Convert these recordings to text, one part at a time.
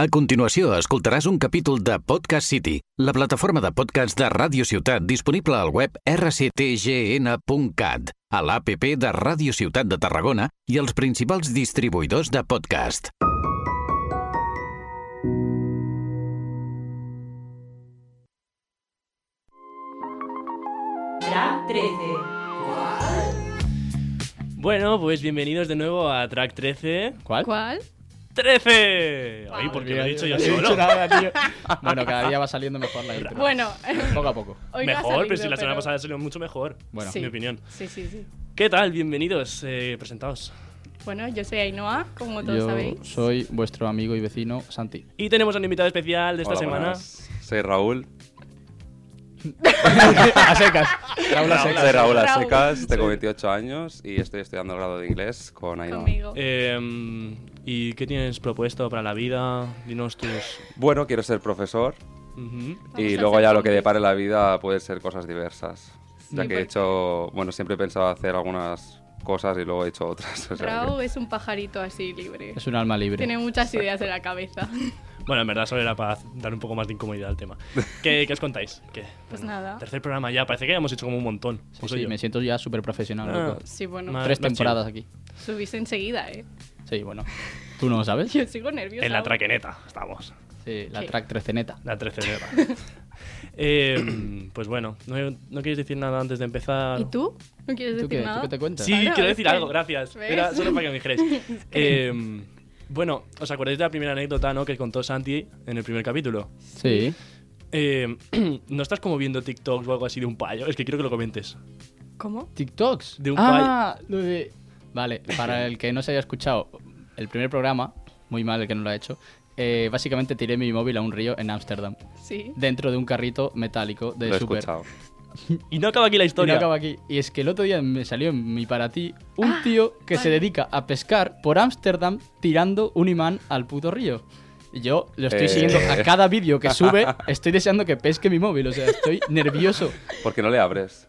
A continuació, escoltaràs un capítol de Podcast City, la plataforma de podcast de Ràdio Ciutat disponible al web rctgn.cat, a l'APP de Ràdio Ciutat de Tarragona i els principals distribuïdors de podcast. Track 13. Bueno, pues bienvenidos de nuevo a Track 13. ¿Cuál? ¿Cuál? ¡13! Ay, porque lo he dicho yo No he solo. dicho nada, tío. Bueno, cada día va saliendo mejor la intro. Bueno, Poco a poco. hoy no ha Mejor, pero si salido, la semana pasada salió mucho mejor. Bueno. en Sí. mi opinión. Sí, sí, sí. ¿Qué tal? Bienvenidos, eh, presentados. Bueno, yo soy Ainhoa, como todos Yo sabéis. soy vuestro amigo y vecino Santi. Y tenemos a un invitado especial de esta Hola, semana. buenas. Soy Raúl. a secas. Raúl a Soy secas. Raúl Raúl. Asecas, tengo 28 años y estoy estudiando el grado de inglés con Ainhoa. Conmigo. Eh, ¿Y qué tienes propuesto para la vida? Dinos tus. Bueno, quiero ser profesor Ujú. Vamos y a luego hacer ya lo que zombies. depare la vida puede ser cosas diversas. Ya Sí, que he porque- hecho, bueno, siempre he pensado hacer algunas cosas y luego he hecho otras. o sea que- Rao es un pajarito así libre. Es un alma libre. Tiene muchas ideas en la cabeza. Bueno, en verdad solo era para dar un poco más de incomodidad al tema. ¿Qué, qué os contáis? ¿Qué? Pues nada. Tercer programa ya, parece que ya hemos hecho como un montón. Sí, ¿O sí, Pues soy yo? me siento ya súper profesional. Ah. loco. Sí, bueno, Madre- Tres no, temporadas aquí. subiste enseguida, ¿eh? Sí, bueno. Tú no lo sabes. Yo sigo nerviosa. En la aún. traqueneta estamos. Sí, la Sí. track 13 neta. La 13 de verdad. Eh, pues bueno, ¿no, no queréis decir nada antes de empezar? ¿Y tú? ¿No quieres ¿Tú decir qué? nada? ¿Tú qué te cuentas? Sí, Claro, quiero es decir que- algo, gracias. ¿ves? Era solo para que me dijerais. Eh, bueno, ¿os acordáis de la primera anécdota ¿no? que contó Santi en el primer capítulo? Sí. Eh, ¿No estás como viendo TikToks o algo así de un payo? Es que quiero que lo comentes. ¿Cómo? TikToks. De un ah, lo de- Vale, para el que no se haya escuchado el primer programa, muy mal el que no lo ha hecho, eh, básicamente tiré mi móvil a un río en Ámsterdam, Sí. dentro de un carrito metálico de lo he Super. escuchado. Y no acaba aquí la Y no historia. acaba aquí. Y es que el otro día me salió en mi para ti un tío que se Ah, vale. dedica a pescar por Ámsterdam tirando un imán al puto río. Y yo lo estoy Eh. siguiendo a cada vídeo que sube, estoy deseando que pesque mi móvil, o sea, estoy nervioso. ¿Por qué no le abres?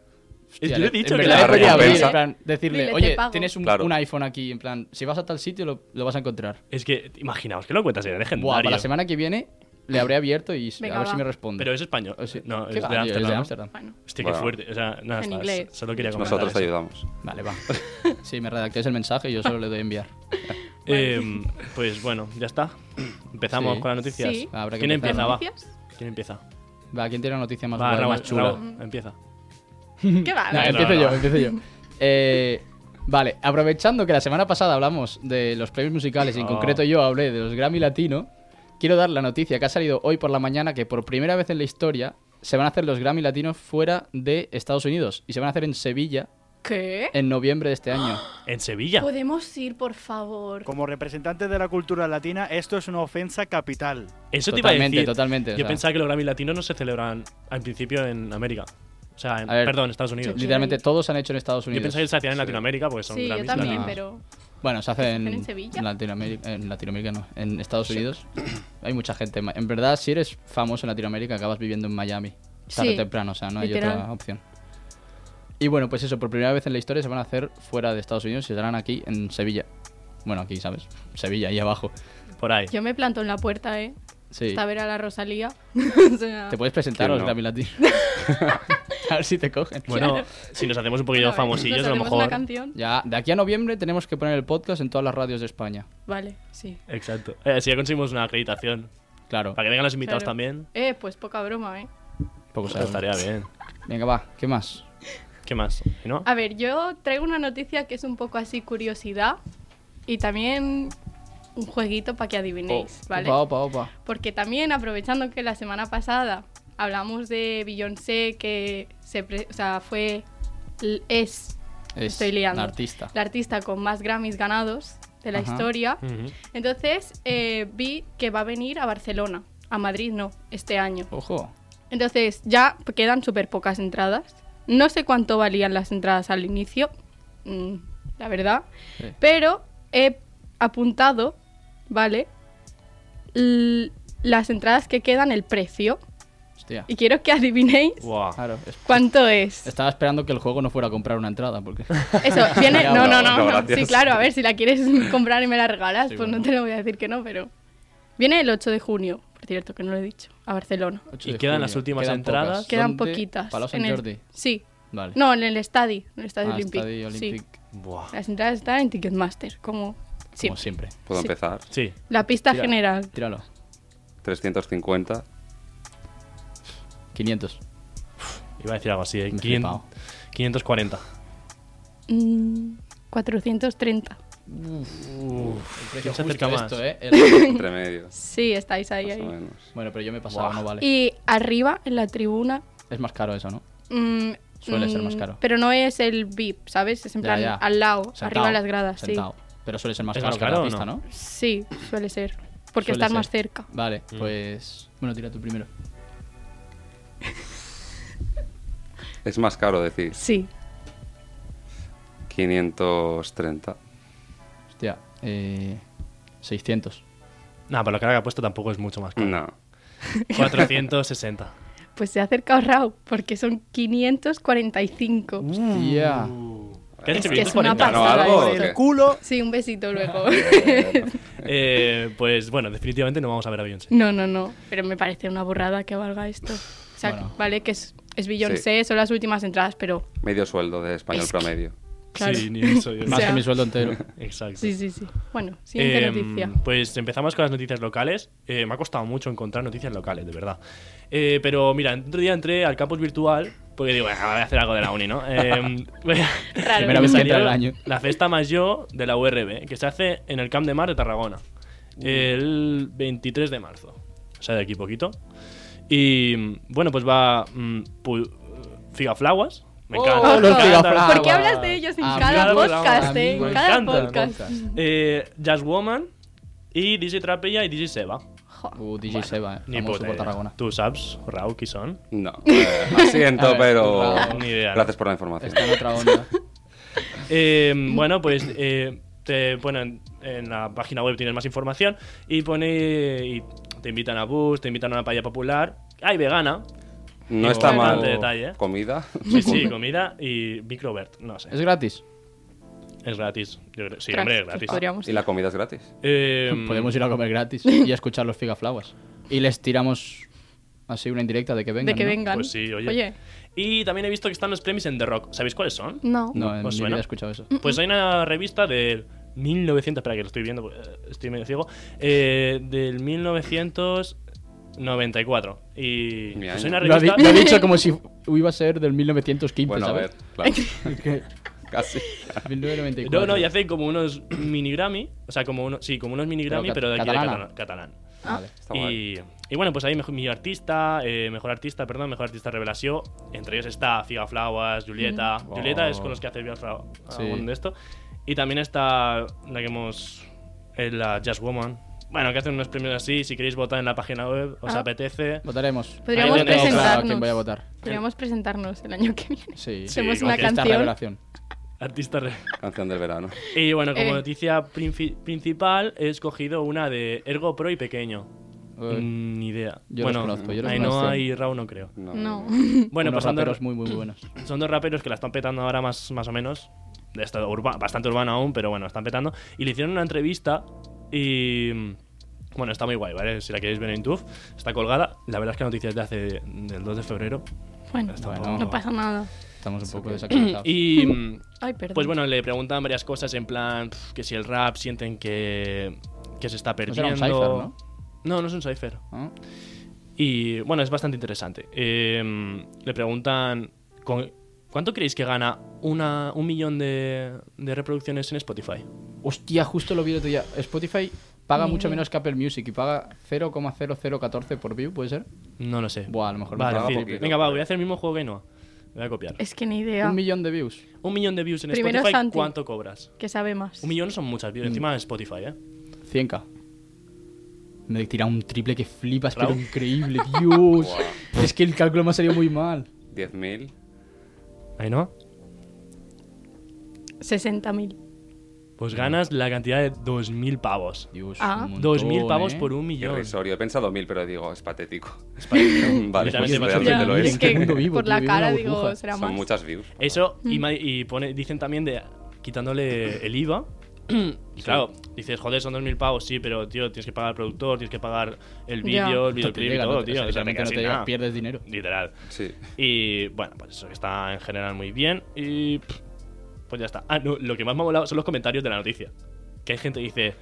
Es- Hostia, yo he en dicho que verdad la le podría abrir, recompensa- en plan, decirle, Dile, te oye, pago". tienes un, Claro. un iPhone aquí, en plan, si vas a tal sitio lo, lo vas a encontrar. Es que, imaginaos que lo cuentas, era legendario. Buah, para la semana que viene le habré abierto y s- Venga, a ver va. si me responde. Pero es español. O sea, No, Oh, ¿qué es va, de tío? Ámsterdam. Ámsterdam. Bueno, Hostia, Bueno. qué fuerte. O sea, nada, En está- inglés. solo quería comentar Nosotros te eso. ayudamos. Vale, va. Sí, me redactáis el mensaje y yo solo le doy a enviar. Eh, pues bueno, ya está. Empezamos Sí. con las noticias. Sí. Habrá que ¿Quién empezar, empieza? ¿no? Va. ¿noticias? ¿Quién empieza? Va, ¿quién tiene la noticia más, Va, guay, Raúl, más chula? Raúl, empieza. ¿Qué va? No, No, empiezo no, yo, no. empiezo yo. Eh, vale, aprovechando que la semana pasada hablamos de los premios musicales y en Oh. concreto yo hablé de los Grammy Latino, quiero dar la noticia que ha salido hoy por la mañana que por primera vez en la historia se van a hacer los Grammy Latinos fuera de Estados Unidos y se van a hacer en Sevilla ¿Qué? en noviembre de este año. En Sevilla. ¿Podemos ir, por favor? Como representantes de la cultura latina, esto es una ofensa capital. Eso te iba a totalmente, decir. totalmente. o Yo sea, pensaba que los Grammy latinos no se celebran al principio en América. O sea, en, A ver, perdón, en Estados Unidos. yo- literalmente todos se han hecho en Estados Yo Unidos. pensaba que se hacían en Latinoamérica porque son Sí, yo Grammys también, latinos. Latino. pero... Bueno, se hace en, en Sevilla? en Latinoamérica, en Latinoamérica no, en Estados Unidos. Hay mucha gente. ma- En verdad, si eres famoso en Latinoamérica, acabas viviendo en Miami. Tarde Sí, o temprano, o sea, no hay literal. otra opción. Y bueno, pues eso, por primera vez en la historia se van a hacer fuera de Estados Unidos y serán aquí en Sevilla. Bueno, aquí, ¿sabes? Sevilla, ahí abajo. Por ahí. Yo me planto en la puerta, ¿eh? Sí. Hasta ver a la Rosalía. O sea, Te puedes presentar ¿Quién a los no? Grammy Latinos. a ver si te cogen. Bueno, si nos hacemos un a poquillo ver, famosillos, nos a lo hacemos mejor. una canción? Ya, de aquí a noviembre tenemos que poner el podcast en todas las radios de España. Vale, sí. Exacto. Eh, si ya conseguimos una acreditación. Claro, Para que vengan los invitados Claro. también. Eh, pues poca broma, ¿eh? poco Pues sabes. estaría bien. Venga, va, ¿qué más? ¿Qué más? ¿Y no? A ver, yo traigo una noticia que es un poco así curiosidad y también un jueguito para que Oh, adivinéis, ¿vale? Opa, opa, opa. Porque también aprovechando que la semana pasada hablamos de Beyoncé que se pre- o sea, fue l- es Es Estoy liando. un artista. la artista con más Grammys ganados de la Ajá. historia. Ujú. Entonces eh, vi que va a venir a Barcelona, a Madrid no, este año. Ojo. Entonces ya quedan súper pocas entradas. No sé cuánto valían las entradas al inicio, mm, la verdad. Sí. Pero he apuntado, ¿vale? L- las entradas que quedan, el precio. Hostia. Y quiero que adivinéis Guau. Claro. es- cuánto es. Estaba esperando que el juego no fuera a comprar una entrada porque. Eso, viene... Ya, No, no, no, no. no, no. gracias. Sí, claro, a ver, si la quieres comprar y me la regalas, Sí, pues no bueno. te lo voy a decir que no, pero... Viene el 8 de junio, por cierto, que no lo he dicho, a Barcelona. Y quedan las últimas entradas. Quedan ¿Dónde? poquitas. Palau Sant en el- Jordi. Sí. Vale. No, en el estadio, en el estadio Ah, Olímpic. Estadi Sí. Olímpic, Buah. Las entradas están en Ticketmaster, como Como siempre. siempre. Puedo Sí. empezar. Sí. La pista Tira. general. Tíralo. 350. 500. Iba a decir algo así, ¿eh? Me he 500 flipado. 540. Mm, 430. Precio se justo acerca más? esto, ¿eh? El- Entre medio. Sí, estáis ahí. más o ahí. menos. Bueno, pero yo me he pasado, Buah. no vale. Y arriba, en la tribuna. Es más caro eso, ¿no? mm, Suele ser más mm, caro. Pero no es el VIP, ¿sabes? Es en Ya, plan ya. al lado, Sentado, arriba de las gradas. sentado. Pero suele ser más ¿Es caro más que caro la o pista, no? ¿no? Sí. Sí, suele ser. Porque Suele estás más ser. cerca. Vale, Mm. pues. Bueno, tira tú primero. Es más caro decir Sí. 530. Hostia, eh. 600. Nah, pero la cara que ha puesto tampoco es mucho más caro. No. 460. Pues se ha acercado Rao, porque son 545. Mm. Hostia. ¿Qué has Es dicho? que es una 540. ¿Ganó pasada. algo o esto. qué? Culo. Sí, un besito luego. Eh, pues bueno, definitivamente no vamos a ver a Beyoncé. no, no, no. Pero me parece una burrada que valga esto. O sea, Bueno. vale que es, es Beyoncé, son las últimas entradas, pero Medio sueldo de español Es que- promedio. claro. Sí, ni eso. yo- Más sea- que mi sueldo entero. Exacto. Sí, sí, sí. Bueno, siguiente Em, noticia. Pues empezamos con las noticias locales. Eh, me ha costado mucho encontrar noticias locales, de verdad. Eh, pero mira, el otro día entré al campus virtual porque digo, "Ah, voy a hacer algo de la uni, ¿no? Em, voy a- Raro. Primera me vez que salió entra el año. La festa mayor de la URB, que se hace en el Camp de Mar de Tarragona, el 23 de marzo. O sea, de aquí poquito. Y mm, bueno, pues va mm, pu- Figaflaguas. Me encanta. Ah, los Me encanta. Figaflaguas. Oh. ¿Por qué hablas de ellos en Ah, cada claro, podcast, claro, eh? amigo, En me cada encantan. podcast. Eh, Jazz Woman y DJ Trapella y DJ Seba. Jo. Uh, DJ Bueno, Seba, eh. Ni famoso puta por idea. Tarragona. Tú sabes, Raúl, qui son. No. Eh, asiento, A ver, pero. no, ni idea, no. Gracias por la información. Está en otra onda. Eh, bueno, pues eh, te ponen en la página web, tienes más información y pone. y te invitan a bus, te invitan a una paella popular. ¡Ay, vegana! No está mal. Bastante detalle. Comida. Sí, sí, comida y microbert, no sé. Es gratis. Es gratis. yo creo- Sí, Ostras, hombre, es pues gratis. podríamos Y la comida es gratis. Eh, Podemos ir a comer gratis y a escuchar los figaflaguas. Y les tiramos así una indirecta de que vengan. de que ¿no? vengan. Pues sí, oye. Y también he visto que están los premios en The Rock. ¿Sabéis cuáles son? no. No, eh. en ¿Os mi suena? vida he escuchado eso. Pues hay una revista del 1900, espera que lo estoy viendo, eh, estoy medio ciego, eh, del 1994. Y Mi pues año. hay una Lo ha, di- revista... lo ha dicho como si fu- iba a ser del 1915, Bueno, a ver. ¿sabes? Claro. Que- Casi. 1994. No, no, y hacen como unos mini Grammy, o sea, como unos, sí, como unos mini Pero Grammy, ca- pero, de aquí catalana. de catalán. catalán. Vale. Está guay. Y, y bueno, pues ahí mejor, mi artista, eh, mejor artista, perdón, mejor artista revelación. Entre ellos está Figa Flowers, Julieta. Mm. Julieta Wow. es con los que hace bien Fra- Sí. algún de esto. Y también está la que hemos. eh, la Jazz Woman. Bueno, que hacen unos premios así. Si queréis votar en la página web, os Ah. apetece. Votaremos. Podríamos Ahí tengo claro a presentarnos. quién voy a votar. Podríamos presentarnos el año que viene. Sí. Sí, Hacemos como una que esta Esta canción. revelación. Artista re- Canción del verano. Y bueno, como Eh. noticia princi- principal, he escogido una de Ergo Pro y Pequeño. Eh, Mm, Ni idea. Yo los bueno, conozco, yo los Ainhoa conozco. Mm. y Raúl no creo. No. No. Bueno, pues, unos pasando, raperos muy, muy buenos. Son dos raperos que la están petando ahora más, más o menos. De esto urba- bastante urbano aún, pero bueno, están petando. Y le hicieron una entrevista y... mm, Bueno, está muy guay, ¿vale? Si la queréis ver en YouTube, está colgada. La verdad es que la noticia es de hace... del 2 de febrero. Bueno, Bueno. no pasa nada. Estamos un poco desactualizados. Y... mm, Ay, perdón. Pues bueno, le preguntan varias cosas en plan... pf, Que si el rap sienten que... Que se está será un perdiendo... cipher, ¿no? No, no es un cipher. ¿Ah? Y bueno, es bastante interesante. Eh, le preguntan, con- ¿cuánto creéis que gana una, un millón de, de reproducciones en Spotify? Hostia, justo lo vi el otro día. Spotify paga Ni mucho idea. menos que Apple Music y paga 0,0014 por view, ¿puede ser? No lo sé. Buah, a lo mejor me vale, paga Filipe. poquito. Venga, va, voy a hacer el mismo juego que Noah. Voy a copiar. Es que ni idea. Un millón de views. Un millón de views en Primero Spotify, Santi. ¿cuánto cobras? Que sabe más. Un millón son muchas views, encima Mm. de Spotify, ¿eh? 100k. Me tira un triple que flipas, Bravo. pero increíble, Dios. es que el cálculo me ha salido muy mal. 10.000. ¿Ahí no? 60.000. Pues Mm. ganas la cantidad de 2.000 pavos. Dios, Ah. un montón, 2.000 pavos ¿eh? por un millón. Irrisorio. He pensado 1.000, pero digo, es patético. vale, Literalmente pues me ha realmente sorprendido. lo es. es que Mundo vivo, por tío, la vive una cara burbuja. digo, será Son más. muchas views. Eso, y, ma- y pone, dicen también de quitándole el IVA, Y claro, dices, joder, son 2.000 pavos, sí, pero tío, tienes que pagar al productor, tienes que pagar el vídeo, el Esto te videoclip y llega, todo, ¿no? tío. O O sea, sea, te literalmente quedas no te sin llega, nada. pierdes dinero. Literal. Sí. Y bueno, pues eso que está en general muy bien. Y pff, pues ya está. Ah, no, lo que más me ha molado son los comentarios de la noticia. Que hay gente que dice: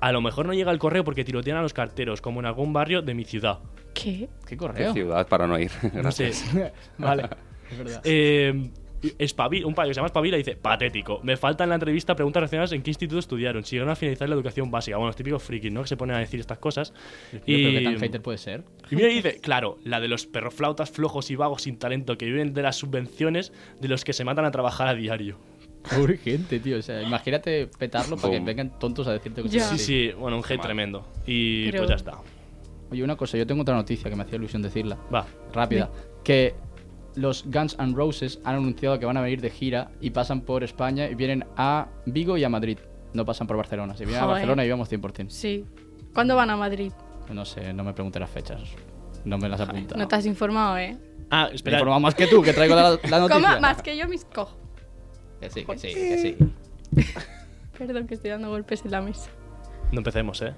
A lo mejor no llega el correo porque tirotean a los carteros, como en algún barrio de mi ciudad. ¿Qué? ¿Qué Qué correo? ciudad para no ir. No sé. vale, es verdad. Eh, espabil- un payo que se llama Espabila dice: Patético. Me falta en la entrevista preguntas relacionadas en qué instituto estudiaron, si llegaron a finalizar la educación básica. Bueno, los típicos frikis, ¿no? Que se ponen a decir estas cosas. Yo creo que Y- tan hater puede ser. Y mira, y dice, claro, la de los perroflautas flojos y vagos sin talento que viven de las subvenciones de los que se matan a trabajar a diario. Pobre gente, tío. O sea, imagínate petarlo para que Boom. vengan tontos a decirte Ya. cosas Sí, así. sí, bueno, un hate Mal. tremendo. Y Pero- pues ya está. Oye, una cosa, yo tengo otra noticia que me hacía ilusión decirla. Va. Rápida. Que los Guns N' Roses han anunciado que van a venir de gira y pasan por España y vienen a Vigo y a Madrid. No pasan por Barcelona. Si vienen a Joder. Barcelona, íbamos 100%. Sí. ¿Cuándo van a Madrid? No sé, no me pregunte las fechas. No me las apunta. No te has informado, ¿eh? Ah, Me espera. he informado más que tú, que traigo la, la noticia. Coma más que yo mis cojo. Que sí, que sí, que sí. Perdón que estoy dando golpes en la mesa. No empecemos, ¿eh?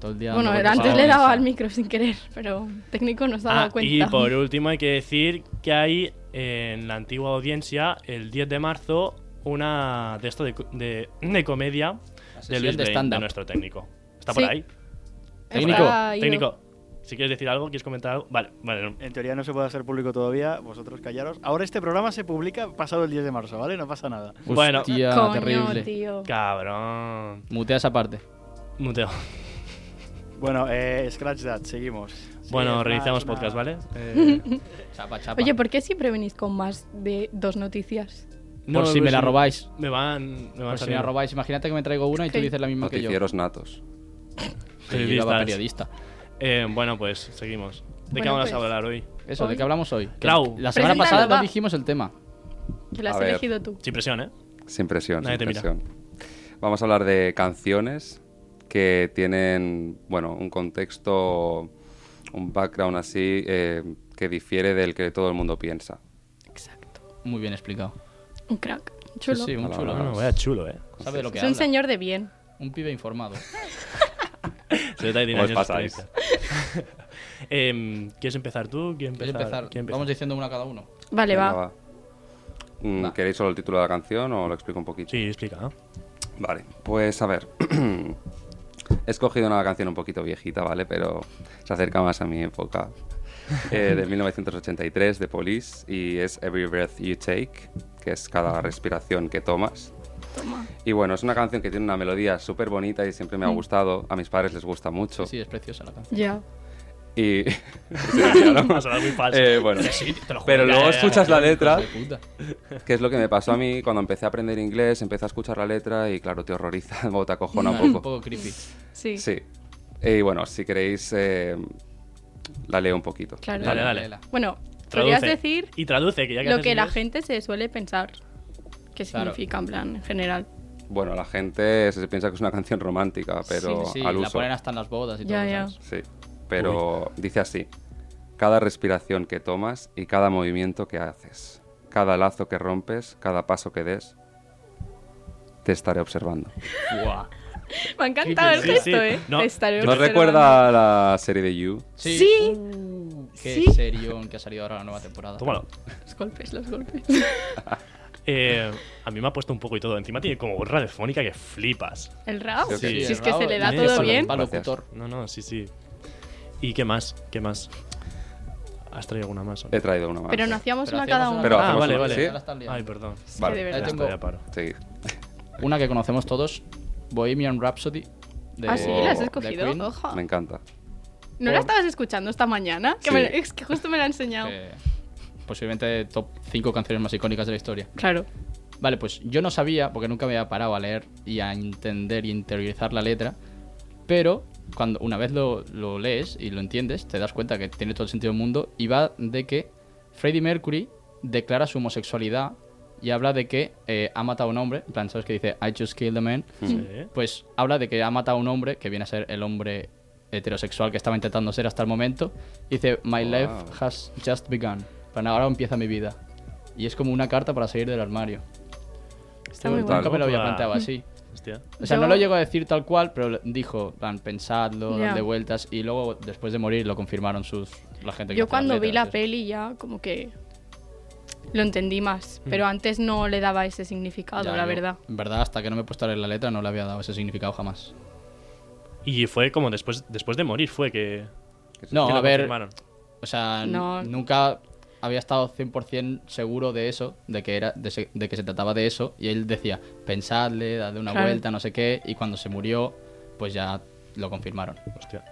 Todo el día bueno, dando era vueltas a antes la le he dado mesa. al micro sin querer, pero el técnico no se ha dado Ah, y cuenta. por último hay que decir que hay en la antigua audiencia, el 10 de marzo, una de esto de, co- de, de comedia de sesión Luis Brain, de de stand-up. nuestro técnico. ¿Está por Sí. ahí? Técnico, Está ido. Técnico, si quieres decir algo, quieres comentar algo. Vale, vale. no. En teoría no se puede hacer público todavía, vosotros callaros. Ahora este programa se publica pasado el 10 de marzo, ¿vale? No pasa nada. Bueno. Hostia, Coño, terrible. tío. Cabrón. Mutea esa parte. Muteo. Bueno, eh, Scratch That, seguimos. Sí, es bueno, más realizamos una- podcast, ¿vale? Chapa, chapa. Oye, ¿por qué siempre venís con más de dos noticias? Por si me la pues, robáis. Me van. Me van Por si me saliendo. la robáis, imagínate que me traigo una y tú Ok. dices la misma que yo. Noticieros natos. Sí, yo Periodistas. era periodista. Eh, bueno, pues seguimos. ¿De qué Bueno, vamos pues. a hablar hoy? Eso, Hoy- ¿de qué hablamos hoy? Clau. La semana Preséntalo, pasada no va. dijimos el tema. Que lo A has ver. elegido tú. Sin presión, ¿eh? Sin presión, Nadie sin te mira. presión. Vamos a hablar de canciones que tienen, bueno, un contexto, un background así eh, que difiere del que todo el mundo piensa. Exacto. Muy bien explicado. Un crack. Chulo. Sí, sí, un Hola, chulo. hola. ¿no? Bueno, vaya chulo, ¿eh? Sabe de lo que es un habla. señor de bien. Un pibe informado. Se nota que tiene ¿Cómo años os de pasáis? experiencia. Em, ¿Quieres empezar tú? ¿Quién ¿Quieres empezar? empezar? ¿Quién empieza? Vamos diciendo una cada uno. Vale, Venga, va. va. Mm, Va. ¿Queréis solo el título de la canción o lo explico un poquito? Sí, explica. ¿no? Vale, pues a ver. He escogido una canción un poquito viejita, ¿vale? Pero se acerca más a mi época. Eh, de 1983, de Police, y es Every Breath You Take, que es cada respiración que tomas. Toma. Y bueno, es una canción que tiene una melodía súper bonita y siempre Mm. me ha gustado. A mis padres les gusta mucho. Sí, es preciosa la canción. Ya. Y. Sí, claro. Va a sonar muy falso. Eh, bueno. Pero Ya, luego ya, ya. escuchas la letra Hijos de puta. que es lo que me pasó a mí cuando empecé a aprender inglés, empecé a escuchar la letra y claro, te horroriza, o te acojona Vale, un Un poco. poco creepy. Sí. Sí. Y bueno, si queréis, eh, la leo un poquito. Claro. Dale, dale. Léela. Bueno, Traduce. podrías decir Y traduce, que ya que lo haces que la inglés- gente se suele pensar. ¿Qué Claro. significa en plan, en general? Bueno, la gente se piensa que es una canción romántica, pero sí, sí, al la uso. ponen hasta en las bodas y Ya, todo. ya. ¿sabes? Sí. Pero dice así: cada respiración que tomas y cada movimiento que haces, cada lazo que rompes, cada paso que des, te estaré observando. Buah. Me ha encantado el Sí, gesto, sí. ¿eh? No. Te estaré ¿No observando. recuerda la serie de You? Sí. Sí. Uh, qué Sí. serión que ha salido ahora la nueva temporada. Tómalo. Los golpes, los golpes. Eh, a mí me ha puesto un poco y todo. Encima tiene como gorra de fónica que flipas. El rao. Sí, si sí, es que se le da Sí, todo sí. bien. Para Gracias. locutor. No, no, sí, sí. ¿Y qué más? ¿Qué más? ¿Has traído alguna más? o no? He traído una más. ¿eh? Pero no hacíamos Pero una cada hacíamos uno. una Pero cada ah, hacemos vale, una- vale. ¿sí? Ahora están liando. Ay, perdón. Es que Vale, de ya Ya verdad. tengo- estoy, ya paro. Sí. Una que conocemos todos, Bohemian Rhapsody. De, Ah, sí, Oh. la has de escogido. Queen, Ojo. Me encanta. ¿No la estabas escuchando esta mañana? Que me- Sí. es que justo me la ha enseñado. que posiblemente top 5 canciones más icónicas de la historia. Claro. Vale, pues yo no sabía, porque nunca me había parado a leer y a entender y interiorizar la letra, pero cuando una vez lo, lo lees y lo entiendes, te das cuenta que tiene todo el sentido del mundo y va de que Freddie Mercury declara su homosexualidad y habla de que eh, ha matado a un hombre, en plan, ¿sabes que dice? I just killed a man. Sí. Pues habla de que ha matado a un hombre, que viene a ser el hombre heterosexual que estaba intentando ser hasta el momento. y Dice, My Wow. life has just begun. Para ahora empieza mi vida. Y es como una carta para salir del armario. Está muy brutal. bueno. Nunca me lo había Opa. planteado así. Hostia. O sea, no Yo- lo llegó a decir tal cual, pero dijo, en plan, pensadlo, Ya. dadle vueltas. Y luego, después de morir, lo confirmaron sus, la gente que hacía Yo las cuando vi letras, la ¿sí? peli ya como que lo entendí más, pero antes no le daba ese significado, Ya, la yo, verdad. En verdad, hasta que no me he puesto a leer la letra, no le había dado ese significado jamás. Y fue como después, después de morir, fue que. No, que lo a ver, confirmaron. o sea, n- No. nunca había estado 100% seguro de eso, de que, era, de, se- de que se trataba de eso. Y él decía, pensadle, dadle una Claro. vuelta, no sé qué. Y cuando se murió, pues ya lo confirmaron. Hostia,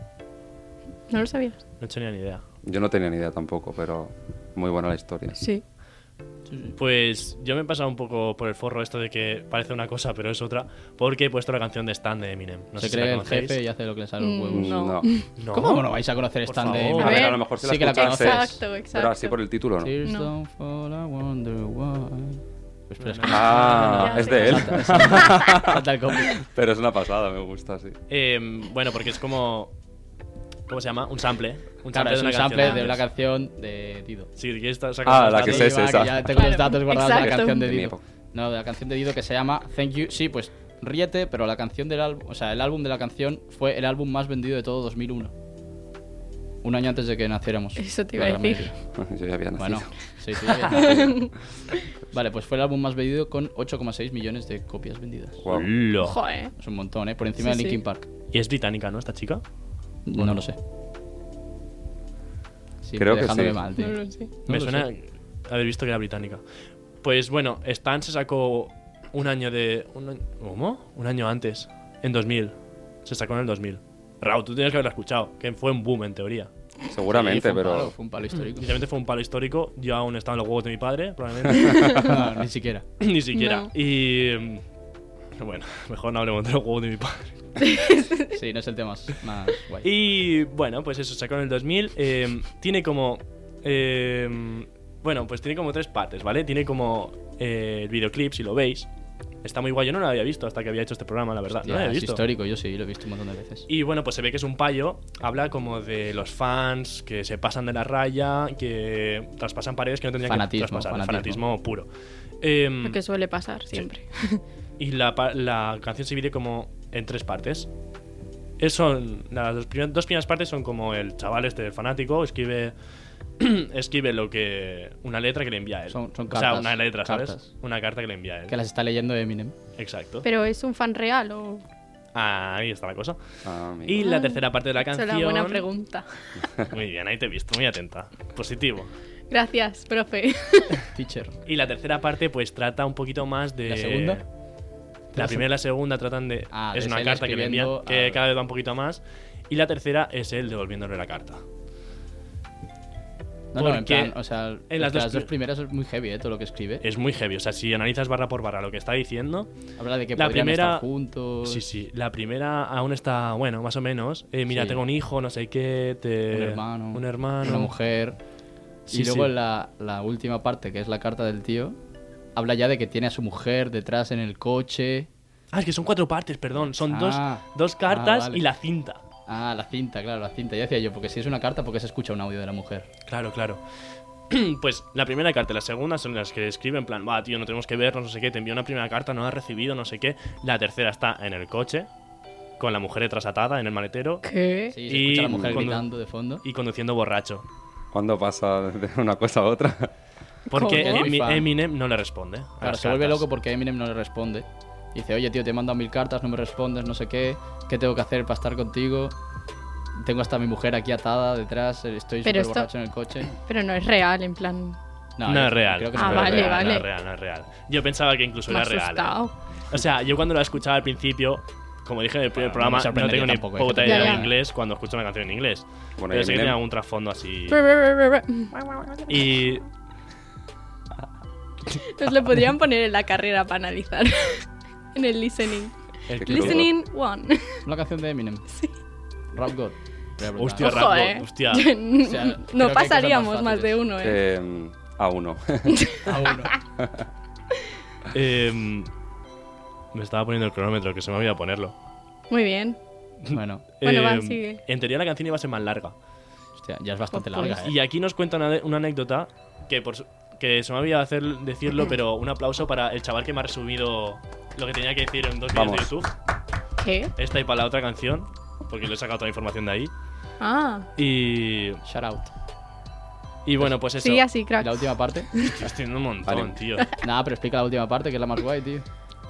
¿No lo sabías? no tenía ni idea. Yo no tenía ni idea tampoco, pero muy buena la historia. Sí. Pues yo me he pasado un poco por el forro esto de que parece una cosa, pero es otra, porque he puesto la canción de Stan de Eminem. No se sé si cree la el conocéis. jefe y hace lo que le sale a los Mm, huevos. No. No. ¿Cómo no vais a conocer Por stand de favor. A ver, ver, a lo mejor se sí la que la escuchaste, conoces. Exacto, exacto. pero así por el título, ¿no? Tears No. don't fall, I wonder why. Pues, pero es que- Ah, Ya es sé. de él. Salta el copy. Pero es una pasada, me gusta, sí. Eh, bueno, porque es como. ¿Cómo se llama? Un sample. Un sample Claro, de es una un canción. sample de una canción de Dido. Si quieres sacar Ah, los la que datos. se- es Sí, va, esa. que ya tengo los Claro, datos guardados de la exacto. canción de De mi Dido. época. No, de la canción de Dido que se llama Thank You. Sí, pues ríete, pero la canción del álbum, o sea, el álbum de la canción fue el álbum más vendido de todo 2001. Un año antes de que naciéramos. Eso te iba La a gran decir. mayoría. Yo ya había nacido. Bueno, sí, tú ya habías nacido. Vale, pues fue el álbum más vendido con 8,6 millones de copias vendidas. Guau. Lo. Joder. Es un montón, ¿eh? Por encima de Sí, sí. Linkin Park. Y es británica, ¿no? Esta chica. No lo sé. Sí, Creo que dejándome sí. mal, tío. No lo sé. No Me lo suena sé. haber visto que era británica. Pues bueno, Stan se sacó un año de. Un, año- ¿Cómo? Un año antes. En 2000. Se sacó en el 2000. Raúl, tú tienes que haberla escuchado. Que fue un boom en teoría. Seguramente, Sí, fue un pero. palo, fue un palo histórico. Literalmente fue un palo histórico. Yo aún estaba en los huevos de mi padre, probablemente. No, ni siquiera. Ni siquiera. No. Y. mm, Bueno, mejor no hablemos de los huevos de mi padre. Sí, no es el tema más, más guay. Y bueno, pues eso, sacó en el 2000. eh, tiene como. eh, bueno, pues tiene como tres partes, ¿vale? Tiene como eh, el videoclip, si lo veis. Está muy guay. Yo no lo había visto hasta que había hecho este programa, la verdad. Hostia, no lo había es visto. histórico, yo sí, lo he visto un montón de veces. Y bueno, pues se ve que es un payo. Habla como de los fans que se pasan de la raya, que traspasan paredes que no tendrían Fanatismo, que traspasar. el fanatismo. fanatismo puro. Em, Lo que suele pasar siempre. y la, pa- la canción se divide como en tres partes. Es- son, las dos, primer- dos primeras partes son como el chaval este el fanático escribe escribe lo que una letra que le envía a él. Son- son o sea, cartas, una letra, ¿sabes? cartas. Una carta que le envía a él. Que las está leyendo Eminem. Exacto. Pero es un fan real o Ahí está la cosa. Ah, amigo. Y la tercera parte de la es canción. una buena pregunta. Muy bien, ahí te he visto, muy atenta. Positivo. Gracias, profe. Teacher. Y la tercera parte pues trata un poquito más de ¿La segunda? La primera y la segunda tratan de Ah, es es una él carta que le envía escribiendo que al- cada vez va un poquito más y la tercera es él devolviéndole la carta. No, no, en Porque plan, o sea, en las, las dos las dos pri- primeras es muy heavy, eh, todo lo que escribe. Es muy heavy, o sea, si analizas barra por barra lo que está diciendo, Habla de que la podrían primera- estar juntos. sí, sí, la primera aún está, bueno, más o menos, eh, mira, Sí. tengo un hijo, no sé qué, te... Un hermano. eh, un hermano, Una mujer. Sí, y luego sí. La, la última parte, que es la carta del tío, habla ya de que tiene a su mujer detrás en el coche. Ah, es que son cuatro partes, perdón, son Ah. dos, dos Ah, cartas vale. y la cinta. Ah, la cinta, claro, la cinta. Ya decía yo, porque si es una carta, porque se escucha un audio de la mujer. Claro, claro. Pues la primera carta y la segunda son las que escribe en plan, va, tío, no tenemos que vernos, no sé qué, te envió una primera carta, no la has recibido, no sé qué. La tercera está en el coche, con la mujer detrás atada en el maletero ¿Qué? Sí, se Y escucha a la mujer cuando- gritando de fondo. y conduciendo borracho. ¿Cuándo pasa de una cosa a otra? Porque ¿Cómo? Es muy Emi- fan. Eminem no le responde. a Claro, las se vuelve cartas. loco porque Eminem no le responde. Y dice, oye, tío, te he mandado mil cartas, no me respondes, no sé qué. ¿Qué tengo que hacer para estar contigo? Tengo hasta a mi mujer aquí atada detrás, eh, estoy súper Pero esto- borracho en el coche. Pero no es real, en plan. No, yo es real. creo que Ah, no es vale, real. vale. No es real, no es real. Yo pensaba que incluso Me ha era real. asustado. ¿eh? O sea, yo cuando la escuchaba al principio, como dije en el primer Bueno, Ah, programa, no me no sorprendería tengo ni tampoco, ¿eh? puta Ya, idea ya. de inglés cuando escucho una canción en inglés. Pero sí Bueno, que Eminem. tiene algún trasfondo así. Nos Y lo podrían poner en la carrera para analizar. en el listening. el Qué club- crudo. Listening one. Una canción de Eminem. Sí. Rap God. Pero brutal. Hostia, Ojo, Rap eh. God, hostia. sea, creo que hay no cosas pasaríamos más más de fáciles. uno, eh. Eh, a uno. A uno. Em, me estaba poniendo el cronómetro, que se me olvidó ponerlo. Muy bien. Bueno, Bueno, va, Em, sigue. En teoría la canción iba a ser más larga. hostia, ya es bastante Pues- larga. ¿eh? Y aquí nos cuenta una, una anécdota que, por, su- que se me había hacer decirlo, pero un aplauso para el chaval que me ha resumido lo que tenía que decir en dos Vamos. vídeos de YouTube. ¿Qué? Esta y para la otra canción, porque le he sacado toda la información de ahí. Ah, Y, Shout out. y bueno, pues eso. sí, así, ¿Y crack. La última parte. Estoy haciendo un montón, Vale. tío. Nada, pero explica la última parte, que es la más guay, tío.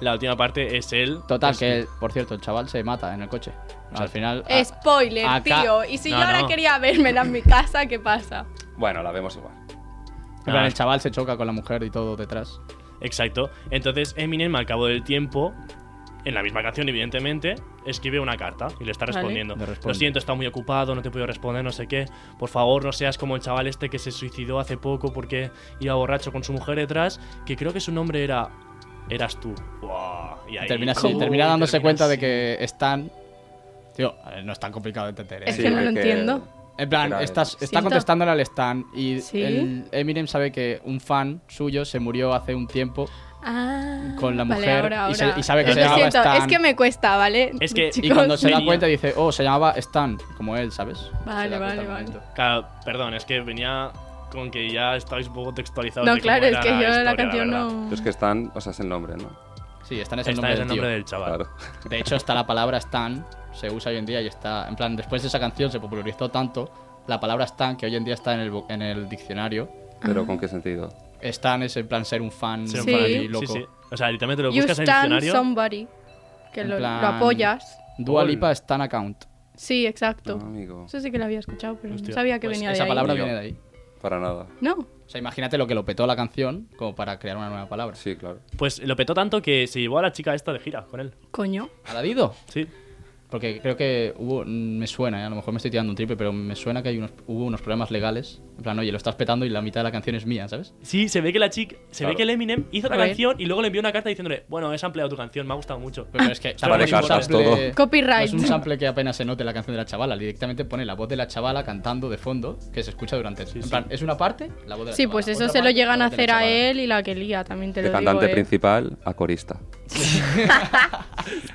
La última parte es él. Total, Es- que, el- por cierto, el chaval se mata en el coche. Al final. a- Spoiler, ah, Acá- tío. Y si No, yo ahora no. quería vérmela en mi casa, ¿qué pasa? Bueno, la vemos igual. Ah, en plan, el chaval se choca con la mujer y todo detrás. Exacto. Entonces Eminem, al cabo del tiempo, en la misma canción, evidentemente, escribe una carta y le está Vale. respondiendo. Le Lo responde. siento, está muy ocupado, no te puedo responder, no sé qué. Por favor, no seas como el chaval este que se suicidó hace poco porque iba borracho con su mujer detrás, que creo que su nombre era. Eras tú. Buah, y ahí- termina así, Uy, termina dándose cuenta de así. que están. Tío, a ver, no es tan complicado de entender. ¿eh? Es que no lo porque- entiendo. En plan, Era- estás, está Siento- contestándole al Stan y Sí. el Eminem sabe que un fan suyo se murió hace un tiempo Ah, Con la vale, mujer ahora, y se- ahora. y sabe que Lo se llamaba siento, Stan. Es que me cuesta, ¿vale? Es que- y y Chicos, cuando se da venía. cuenta dice, oh, se llamaba Stan, como él, ¿sabes? Se Vale, da cuenta vale, al vale. momento. Claro, perdón, es que venía con que ya estáis un poco textualizados. No, de cómo claro, es era que yo la, historia, canción verdad. no. Pero es que están, o sea, es el nombre, ¿no? Sí, Stan es el Esta es nombre el del nombre tío. del chaval. Claro. De hecho, está la palabra Stan, se usa hoy en día y está. En plan, después de esa canción se popularizó tanto la palabra Stan que hoy en día está en el, bo- en el diccionario. Ah. Pero ¿con qué sentido? Stan es en plan ser un fan Ser un Sí. fanático. y loco. Sí, sí. O sea, literalmente lo You buscas en el stand diccionario. somebody. Que En lo, lo plan- apoyas. Dua Gol. Lipa Stan Account. Sí, exacto. Ah. No, amigo. Eso sí que lo había escuchado, pero Hostia. no sabía que Pues venía de esa ahí. palabra Ni yo. viene de ahí. Para nada. No. O sea, imagínate lo que lo petó la canción como para crear una nueva palabra. Sí, claro. Pues lo petó tanto que se llevó a la chica esta de gira con él. Coño. ¿Aladido? Sí. Porque creo que hubo, me suena, ¿eh? a lo mejor me estoy tirando un triple, pero me suena que hay unos, hubo unos problemas legales. En plan, oye, lo estás petando y la mitad de la canción es mía, ¿sabes? Sí, se ve que la chica. Se Claro. ve que el Eminem hizo la A ver. canción y luego le envió una carta diciéndole: Bueno, has ampliado tu canción, me ha gustado mucho. Pero es que Vale, es un cartas, sample- todo. Copyright. no es un sample que apenas se note la canción de la chavala. Directamente pone la voz de la chavala cantando de fondo que se escucha durante. en sí. plan, es una parte, la voz de la Sí, chavala, pues eso otra se lo parte, llegan la a voz de la hacer a chavala. él y la que lía, también te De lo cantante digo. eh. principal a corista.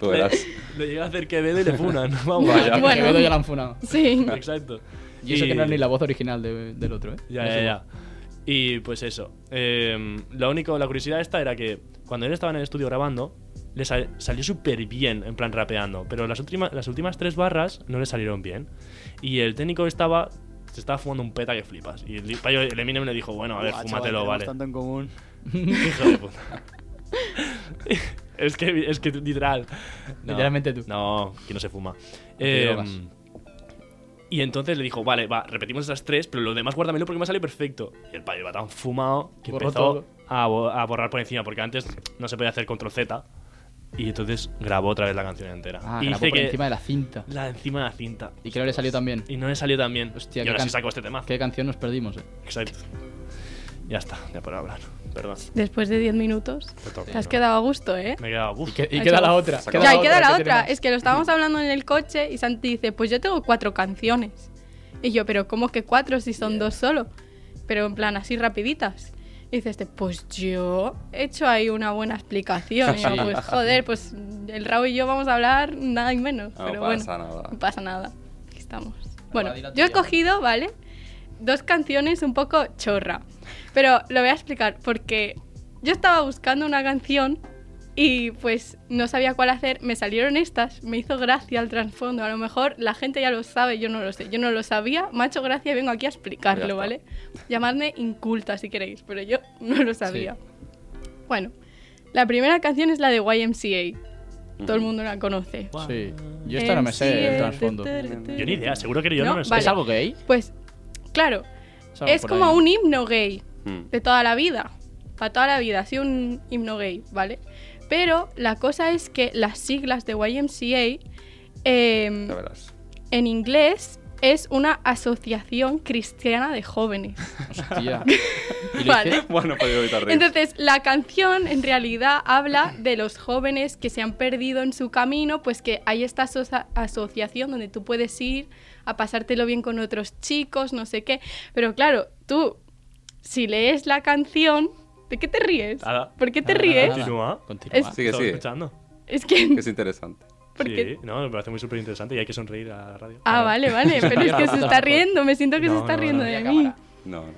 Tú Le, eras. le llega a hacer Quevedo y le funan. Vamos. Vaya, que Bueno. Quevedo ya la han funado. Sí. Exacto. Y eso que no es ni la voz original de- del otro, ¿eh? Ya, No ya, sé. ya. Y pues eso. Eh, lo único, la curiosidad esta era que cuando él estaba en el estudio grabando, le sal- salió súper bien, en plan rapeando. Pero las, últimas las últimas tres barras no le salieron bien. Y el técnico estaba. Se estaba fumando un peta que flipas. Y el, el Eminem le dijo, bueno, a ver, Buah, chaval, fúmatelo, tenemos vale. tanto en común. Hijo de puta. es, que, es que literal. No, Literalmente tú. No, que no se fuma. te Eh, drogas. y entonces le dijo, vale, va, repetimos esas tres, pero lo demás guárdamelo porque me ha salido perfecto. Y el padre va tan fumado que Borró empezó todo. a, bo- a borrar por encima, porque antes no se podía hacer control Z. Y entonces grabó otra vez la canción entera. Ah, y grabó dice por que encima de la cinta. la encima de la cinta. Y creo que le salió también. Y no le salió tan bien. Hostia, y qué ahora sí can- sacó este tema. ¿Qué canción nos perdimos, eh? Exacto. Ya está, ya por hablar. Perdón. Después de 10 minutos. te toca. Te has quedado a gusto, ¿eh? Me he quedado. uf. Y, que- y Ha queda hecho- la otra. Se acabó. Ya, la y queda la otra. que Es que lo estábamos hablando en el coche y Santi dice, pues yo tengo cuatro canciones. Y yo, pero ¿cómo que cuatro si son dos solo? Pero en plan, así rapiditas. Y dice este, pues yo he hecho ahí una buena explicación. Y yo, Sí. pues joder, pues el Raúl y yo vamos a hablar nada y menos. No pero pasa bueno, nada. no pasa nada. Aquí estamos. Ahora Bueno, di la yo he tuya. cogido, ¿vale? Dos canciones un poco chorra. Pero lo voy a explicar porque yo estaba buscando una canción y pues no sabía cuál hacer. Me salieron estas, me hizo gracia el trasfondo. A lo mejor la gente ya lo sabe, yo no lo sé. Yo no lo sabía, me ha hecho gracia y vengo aquí a Ya está. explicarlo, ¿vale? Llamadme inculta si queréis, pero yo no lo sabía. Bueno, la primera canción es la de YMCA. Todo el mundo la conoce. Sí. Yo esta no me sé Em, el MCA, trasfondo. Yo ni idea, seguro que yo no, No, me sé. vale. ¿Es algo gay? Pues, claro, Es algo es por como ahí. un himno gay Mm. de toda la vida. Para toda la vida, así un himno gay, ¿vale? Pero la cosa es que las siglas de YMCA em, Ya verás. en inglés es una asociación cristiana de jóvenes. Hostia. Y lo Vale. hice- Bueno, pues podía evitar reír. Entonces, la canción en realidad habla de los jóvenes que se han perdido en su camino, pues que hay esta asocia- asociación donde tú puedes ir a pasártelo bien con otros chicos, no sé qué. Pero claro, tú, si lees la canción, ¿de qué te ríes? Nada. ¿por qué te Nada, ríes? nada, nada. Continúa. Es- Continúa. Sigue, Estaba sigue. escuchando. Es que... Que es interesante. ¿por qué? Sí, no, me parece muy súper interesante y hay que sonreír a la radio. Ah, vale, vale, pero es que se está riendo, me siento que No, se está no, riendo no. de Cámara. mí. No, no.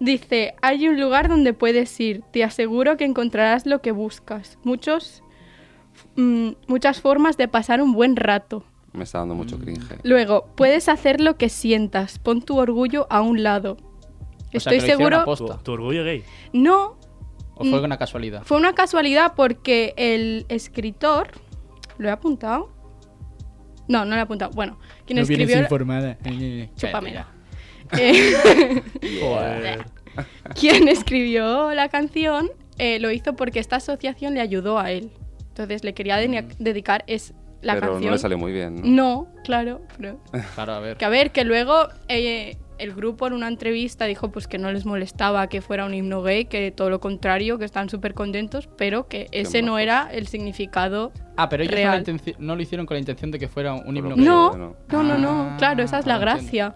Dice, hay un lugar donde puedes ir, te aseguro que encontrarás lo que buscas. Muchos, mm, muchas formas de pasar un buen rato. Me está dando Mm. mucho cringe. Luego, puedes hacer lo que sientas, pon tu orgullo a un lado. O sea, Estoy que lo hicieron seguro... a Tu, posta. tu orgullo gay. No, ¿O fue Mm. una casualidad? Fue una casualidad porque el escritor. ¿Lo he apuntado? No, no lo he apuntado. Bueno, quien escribió. la- informada. Chúpame. eh, Joder. quien escribió la canción eh, lo hizo porque esta asociación le ayudó a él. Entonces le quería de- dedicar es la Mm. pero canción. no le salió muy bien. ¿no? Ah. No, claro. pero- Claro, a ver. Que a ver, que luego eh, el grupo en una entrevista dijo pues que no les molestaba que fuera un himno gay, que todo lo contrario, que están súper contentos, pero que ese no majos. era el significado Ah, pero ellos no, la Real. intenci- no lo hicieron con la intención de que fuera un himno. Pero No, bueno. no, no, no, Ah, claro, esa es la ahora gracia.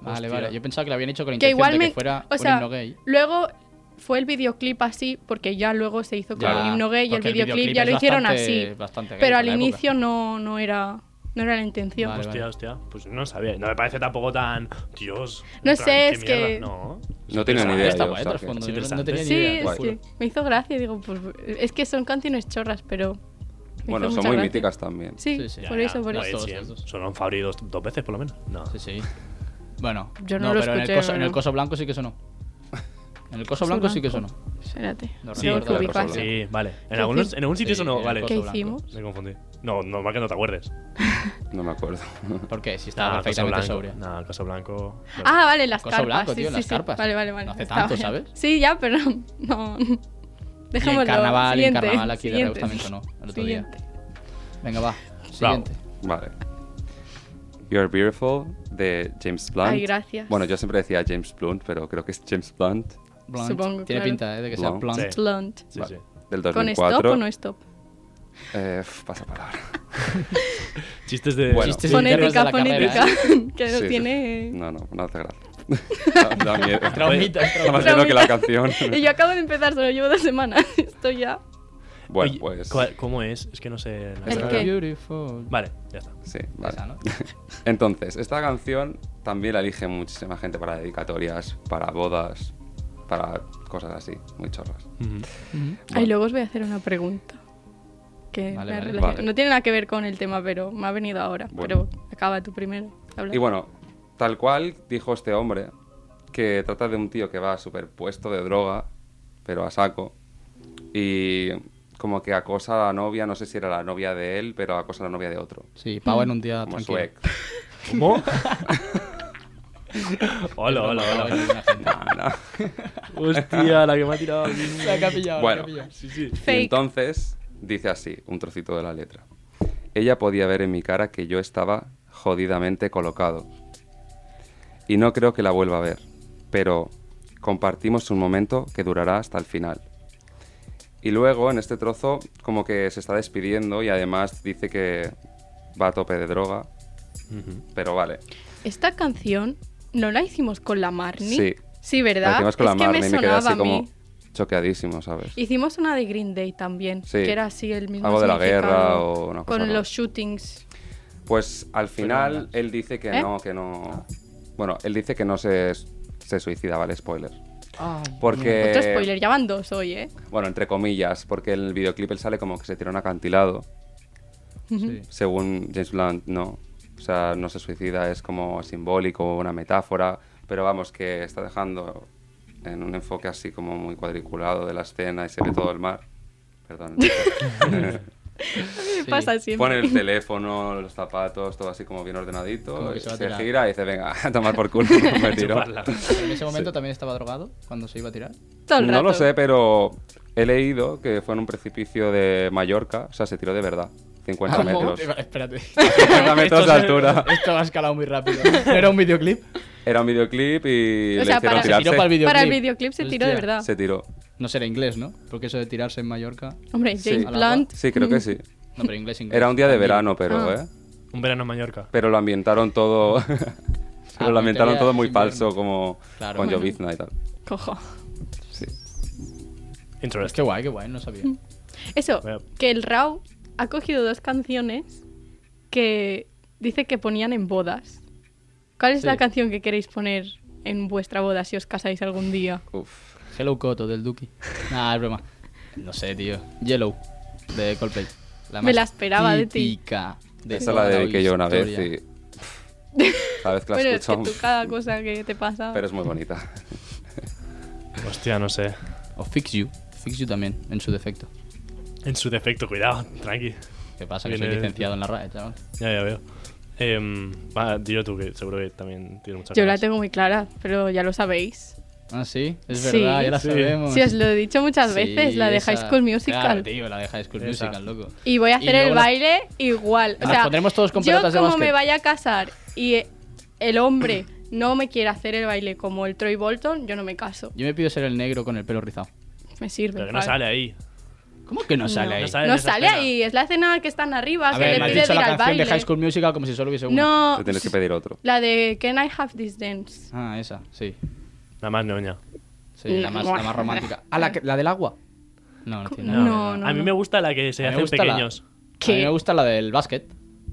Vale, Hostia. vale. Yo pensaba que lo habían hecho con la Que intención igual de me, que fuera o sea, un himno gay. luego fue el videoclip así, porque ya luego se hizo con Ya, el himno gay y el porque videoclip, ya lo hicieron así. es bastante- bastante gay Pero para al la época. inicio no, no era no era la intención. Vale, Hostia, hostia. Pues no sabía. No me parece tampoco tan. Dios. No en sé, plan, qué es que- mierda. No. No tenía ni Pensaba- idea. Está yo, guay, o sea, de trasfondo, es yo no- no interesante. tenía ni Sí, idea, te es lo guay. juro. que me hizo gracia, digo, pues es que son canciones chorras, pero me Bueno, hizo son mucha muy gracia. míticas también. Sí, Sí, sí. por Ya, eso, por ya, eso. no, eso. sí, Sonó Fabri dos, dos veces, por lo menos. No. Sí, sí. Bueno, Yo no lo pero en, escuché, el coso, no, en el no. coso blanco sí que sonó. En el coso Coso blanco sí que sonó. blanco. Espérate. No tengo recuerdo que la ubicarse. cosa blanca. Sí, vale. En, ¿Qué algunos, hicimos? en algún sitio Sí, sonó. en el Vale. coso ¿Qué blanco. hicimos? Me confundí. No, normal que no te acuerdes. No me acuerdo. Porque si estaba Nah, Ah, Coso perfectamente Blanco. sobria. Nah, Coso Blanco. Ah, vale, las Coso carpas. blanco, sí, tío, sí, las sí. carpas. Vale, vale, vale. No hace Está tanto, bien. ¿sabes? Sí, ya, pero no. Y Dejémoslo. en carnaval, y en Siguiente, carnaval aquí de Reus siguiente. también sonó el otro día. Siguiente. Venga, va. Siguiente. Vale. You're Beautiful de James Blunt. Ay, gracias. Bueno, yo siempre decía James Blunt, pero creo que es James Blunt. Blunt. Supongo, Tiene claro. pinta eh, de que sea Blunt. blunt. Sí. Blunt. Sí, Vale, sí. Del ¿Con stop 2004. o no stop? Eh, f- pasa palabra. Chistes de. Bueno. Chistes internos de Fonética, la carrera, fonética. ¿eh? que Sí, lo sí. tiene. No, no, no hace gracia. da, da miedo. Traumita, Da traumita. más miedo que la canción. y yo acabo de empezar, solo llevo dos semanas. Esto ya. bueno, Oye, pues. ¿cuál- ¿Cómo es? Es que no sé. la ¿El verdad. qué? Beautiful. Vale, ya está. Sí, vale. Esa, ¿no? Entonces, esta canción también la elige muchísima gente para dedicatorias, para bodas, para cosas así, muy chorras. Ay, luego os voy a hacer una pregunta. Vale, Que me ha vale. relacionado. Vale. No tiene nada que ver con el tema, pero me ha venido ahora. Bueno. Pero acaba tú primero. Habla. Y bueno, tal cual dijo este hombre, que trata de un tío que va superpuesto de droga, pero a saco, y como que acosa a la novia, no sé si era la novia de él, pero acosa a la novia de otro, Sí, pavo en un día como Ah, tranquilo. su ex. ¿Cómo? hola, hola, Pavo en hola. una gente. Hostia, la que me ha tirado. La que ha pillado, la que ha Bueno. pillado. Sí, sí. Y Fake. entonces dice así, un trocito de la letra. Ella podía ver en mi cara que yo estaba jodidamente colocado. Y no creo que la vuelva a ver, pero compartimos un momento que durará hasta el final. Y luego en este trozo como que se está despidiendo y además dice que va a tope de droga, pero vale. Esta canción no la hicimos con la Marnie. Sí. Sí, La ¿verdad? hicimos con la es Marne que me y me quedé sonaba así a mí. como choqueadísimo, ¿sabes? Hicimos una de Green Day también, Sí. que era así el mismo. Algo de la guerra significado, o una cosa Con rara. los shootings. Pues al final él dice que ¿Eh? no, que no. Bueno, él dice que no se, se suicida, vale, spoiler. Ay, Porque. Otro spoiler, ya van dos hoy, ¿eh? Bueno, entre comillas, porque en el videoclip él sale como que se tira a un acantilado. sí. Según James Blunt, no. O sea, no se suicida, es como simbólico, una metáfora. Pero vamos, que está dejando en un enfoque así como muy cuadriculado de la escena y se ve todo el mar. Perdón. ¿Qué pasa siempre? Pone el teléfono, los zapatos, todo así como bien ordenadito. Como que y se va a se tirar. gira y dice, venga, a tomar por culo. Me tiro. Chuparla. Pero en ese momento también estaba drogado cuando se iba a tirar. Todo el No lo rato. sé, pero he leído que fue en un precipicio de Mallorca, o sea, se tiró de verdad. 50 Ah, metros. Espérate. 50 metros de altura. Esto ha escalado muy rápido. ¿No era un videoclip? Era un videoclip y O le sea, hicieron para- Se tirarse. tiró para el videoclip. Para el videoclip se tiró de Hostia. verdad. Se tiró. No será inglés, ¿no? Porque eso de tirarse en Mallorca. Hombre, Sí. James Al agua. Blunt. Mm. Sí, creo que sí. No, pero inglés, inglés. Era un día de También. verano, pero, Ah. ¿eh? Un verano en Mallorca. Pero lo ambientaron todo. pero lo Ah, ambientaron porque todo muy era falso, invierno. como Claro. con Bueno. llovizna y tal. Cojo. Sí. Pues qué Interesting. guay, qué guay, no sabía. Eso, Bueno. que el Rao ha cogido dos canciones que dice que ponían en bodas. ¿Cuál es Sí. la canción que queréis poner en vuestra boda si os casáis algún día? Uf. Hello Coto del Duki. Nah, es broma. No sé, tío. Yellow de Coldplay. Me más la esperaba de ti. típica de Esa la toda dediqué yo una vez historia. y. Cada vez que la Bueno, es que escucho. tú cada cosa que te pasa... Pero es muy bonita. Hostia, no sé. O Fix You. Fix You también, en su defecto. En su defecto, cuidado, tranqui. ¿Qué pasa? Que soy Viene- licenciado en la RAE, chaval. Ya, ya veo. Em, va, dilo tú, que seguro que también tienes muchas Yo la ganas. tengo muy clara, pero ya lo sabéis. Ah, sí, es Sí. verdad, ya la Sí. sabemos. Si os lo he dicho muchas Sí, veces, la de esa- High School Musical. Claro, tío, la de High School Esa. Musical, loco. Y voy a Y hacer luego el la- baile igual. O Nos sea, pondremos todos con yo pelotas de como básquet. me vaya a casar y eh, el hombre no me quiere hacer el baile como el Troy Bolton, yo no me caso. Yo me pido ser el negro con el pelo rizado. Me sirve. Pero que no ¿vale? sale ahí. ¿Cómo que no sale ahí? No sale en No esa sale escena. ahí, es la escena que están arriba, A se ver, le me has pide dicho ir la al canción baile. de High School Musical como si solo hubiese una. No, Te tienes que pedir otro. la de Can I Have This Dance. Ah, esa, sí. Nada más ñoña. Sí, la, más, No. la más romántica. Ah, la, que- la del agua. No, no tiene nada. No, que ver, no, A mí no. me gusta la que se A mí me hacen gusta la- pequeños. A mí ¿Qué? me gusta la del básquet.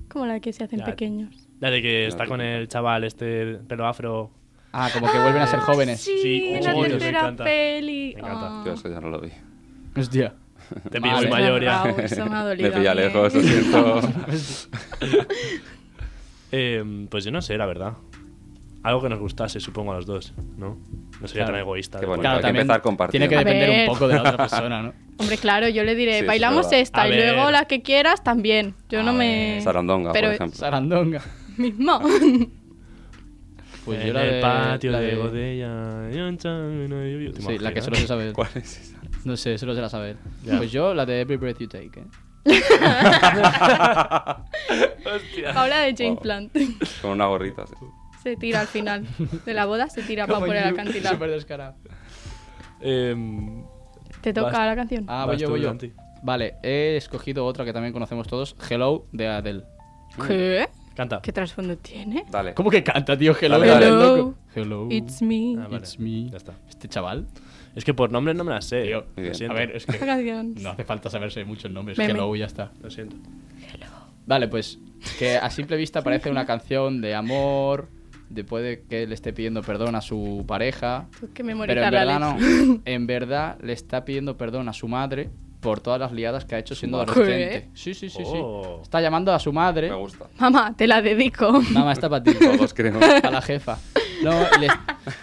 Como la que se hacen Ya. pequeños. La de que está con el chaval este pelo afro. Ah, como que vuelven a ser jóvenes. Sí, Sí, la oh, me tercera encanta. peli. Me encanta. Ah. Yo eso ya no lo vi. Hostia. Te Madre. pillo muy mayor ya. Raúl, eso me ha Le dolido pilla a mí, ¿eh? lejos, lo siento. Em, pues yo no sé, la verdad. Algo que nos gustase, supongo, a los dos, ¿no? No sería Claro. tan egoísta. Qué de- bonito. Claro, hay que también empezar compartiendo. tiene que A depender un ver. poco de la otra persona, ¿no? Hombre, claro, yo le diré, Sí, eso es bailamos verdad. esta A y ver. luego la que quieras también. Yo A no ver. me. Sarandonga, Pero- por ejemplo. Sarandonga. Mismo. Pues en yo la el de- patio la de, de- botella. y un chano y yo- ¿Te Sí, la que imaginas? solo se sabe. ¿Cuál es esa? No sé, solo se la sabe. él. Ya. Pues yo la de Every Breath You Take. ¿eh? Paula de James Wow. Plant. Con una gorrita así. Se tira al final. De la boda se tira para Como por el you, acantilado. súper descarado. Em, Te toca Vas- la canción. Ah, Vas voy yo, tú, voy yo. Santi. Vale, he escogido otra que también conocemos todos. Hello de Adele. ¿Qué? Canta. ¿Qué trasfondo tiene? Dale. ¿Cómo que canta, tío? Hello. Dale, dale. Hello. Hello. Hello. It's me. Ah, vale. It's me. Ya está. Este chaval. Es que por nombres no me las sé. Tío, Muy bien. Lo siento. A ver, es Esta que canción. no hace falta saberse muchos nombres. Meme. Hello y ya está. Lo siento. Vale, pues que a simple vista parece una canción de amor, de puede que le esté pidiendo perdón a su pareja, Tengo Pues pero que en memorizar la verdad letra. no. En verdad le está pidiendo perdón a su madre por todas las liadas que ha hecho siendo ¿Qué? adolescente. Sí, sí, sí, Oh. sí. Está llamando a su madre. Me gusta. Mamá, te la dedico. Mamá, está para ti. Todos creo. a la jefa. No, le,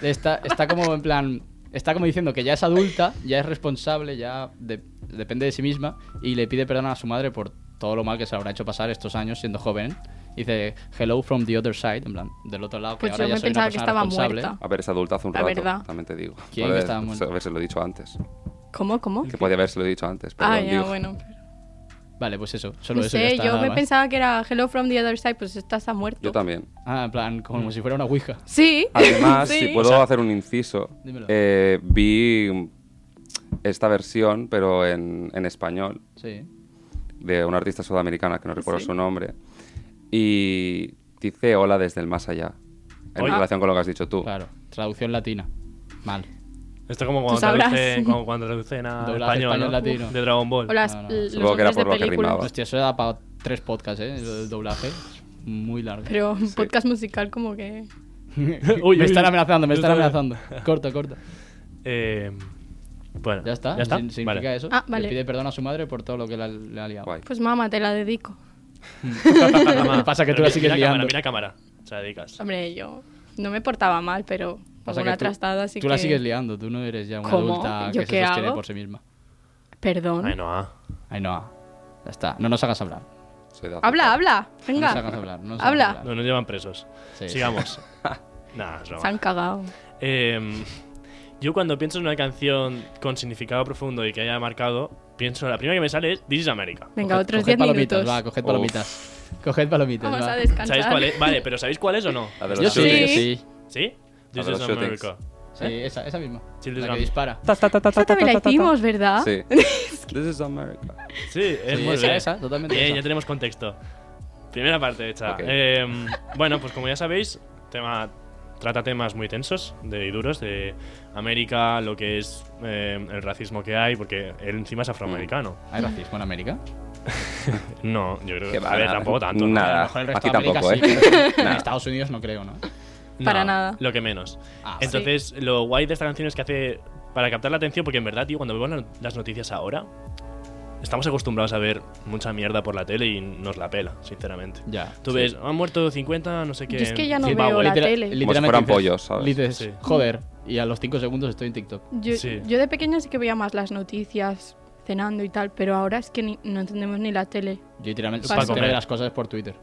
le está, está como en plan. Está como diciendo que ya es adulta, ya es responsable, ya de- depende de sí misma y le pide perdón a su madre por todo lo mal que se habrá hecho pasar estos años siendo joven. Dice hello from the other side, en plan, del otro lado. que Pues ahora yo ya me soy una pensaba que persona estaba responsable. muerta. A ver, es adulta hace un La rato. verdad. También te digo. ¿Quién Por que el- estaba muerta? A ver, se lo he dicho antes. ¿Cómo, cómo? Que podía haberse lo dicho antes. Pero Ah, lo ya, digo. bueno. Vale, pues eso, solo No eso. ya sé, está, yo nada me más. pensaba que era Hello from the other side, pues estás a muerto. Yo también. Ah, en plan, como si fuera una ouija. Sí. Además, Sí. si puedo hacer un inciso, Dímelo. eh, vi esta versión, pero en, en español, Sí. de una artista sudamericana que no recuerdo su nombre, y dice hola desde el más allá, en Oye. relación con lo que has dicho tú. Claro, traducción latina. Mal. Esto como cuando sabrás. traducen, como cuando traduccen a Doblaje español, español ¿no? latino. de Dragon Ball. O las, No, no. los Supongo que era nombres de por lo que películas. rimaba. Hostia, eso da para tres podcasts, ¿eh? Lo del doblaje. Muy largo. Pero un Sí. podcast musical como que... Uy, me uy, están uy. amenazando, me Yo están estaba- amenazando. Corta, corta. Eh, bueno, Ya está. ¿Ya está? Sin- Significa Vale. eso. Ah, vale. Le pide perdón a su madre por todo lo que la- le ha liado. Guay. Pues mamá, te la dedico. Mamá, Pasa que tú mira- la sigues mira liando. Cámara, mira cámara. Se la dedicas. Hombre, yo no me portaba mal, pero Pasa una que tú- trastada así tú que... la sigues liando, tú no eres ya una ¿Cómo? adulta ¿Yo que se qué sostiene hago? por sí misma. Perdón. Ay, no, ah. Ay, no. Ya está. No nos hagas hablar. Soy de Pues, Habla, azúcar. habla. No Venga. nos hagas hablar. No nos hagas Habla. hablar. No nos llevan presos. Sí, Sigamos. Nah, es broma. Se han cagado. Eh, yo cuando pienso en una canción con significado profundo y que haya marcado, pienso, la primera que me sale es This is America. Venga, Coged- otros coged 10 palomitas, minutos. Va, coged palomitas. Coged palomitas. Vamos va. a descansar. ¿Sabéis cuál es? Vale, pero ¿sabéis cuál es o no? La de los Yo sí, shootings. yo Sí. sí. ¿Sí? La This de is los shootings. America. Sí, esa, esa misma. Children's la que Gambit. dispara. Esta también la hicimos, ¿verdad? Sí. This is America. Sí, es Sí, muy esa, bien. esa, totalmente Bien, esa. ya tenemos contexto. Primera parte hecha. Ok. Eh, bueno, pues como ya sabéis, tema trata temas muy tensos de, y duros de América, lo que es eh, el racismo que hay, porque él encima es afroamericano. ¿Hay racismo en América? No, yo creo que Que va, a ver, nada. tampoco tanto. ¿no? Nada. A lo mejor el resto Ah, Aquí de América tampoco, sí, ¿eh? pero En Estados Unidos no creo, ¿no? Para No, nada. Lo que menos. Ah, vale. Entonces, lo guay de esta canción es que hace para captar la atención, porque en verdad, tío, cuando vemos la- las noticias ahora, estamos acostumbrados a ver mucha mierda por la tele y nos la pela, sinceramente. Ya. Tú ves, han muerto 50, no sé qué. Yo es que ya no Sí, veo pavo, la litera- tele. literalmente fueran dices- pollos, ¿sabes? dices, Sí. joder, y a los 5 segundos estoy en TikTok. Yo, Sí. yo de pequeña sí que veía más las noticias cenando y tal, pero ahora es que ni- no entendemos ni la tele. Yo literalmente Para me entero comer. de las cosas por Twitter.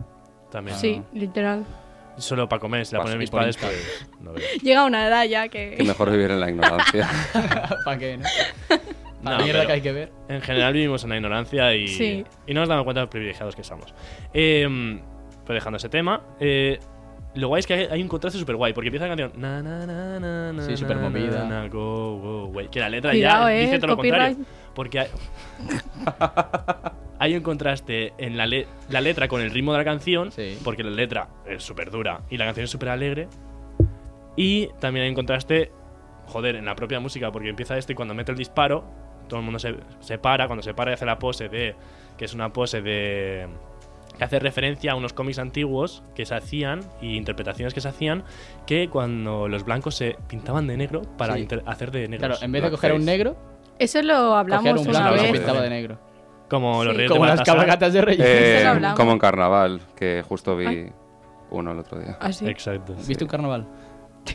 También. Sí, literal. Solo para comer, si la Paso ponen y mis por padres, Instagram. pues. No veo. Llega una edad ya Que que... mejor vivir en la ignorancia. ¿Para qué? No? No, la mierda pero- que hay que ver. En general vivimos en la ignorancia y, Sí. y no nos damos cuenta de los privilegiados que somos. Eh, pues dejando ese tema, eh, lo guay es que hay, hay un contraste súper guay, porque empieza la canción... Na, na, na, na, na, Sí, súper na, movida. na, go, go, way. Que la letra Cuidado, ya eh, dice todo lo copyright. contrario. Porque hay, hay un contraste en la, le- la letra con el ritmo de la canción, Sí. porque la letra es súper dura y la canción es súper alegre. Y también hay un contraste, joder, en la propia música, porque empieza esto y cuando mete el disparo, todo el mundo se, se para, cuando se para y hace la pose de. que es una pose de. que hace referencia a unos cómics antiguos que se hacían y interpretaciones que se hacían que cuando los blancos se pintaban de negro para Sí. inter- hacer de negros. Claro, en vez de Blackface. coger a un negro, Eso lo coger a hablamos un una blanco y se vez. pintaba de negro. Como los Sí. reyes Como de las Baltasar. cabalgatas de Reyes. Eh, Eso lo hablamos. como en carnaval, que justo vi Ay. uno el otro día. Así. Exacto. ¿Viste un carnaval?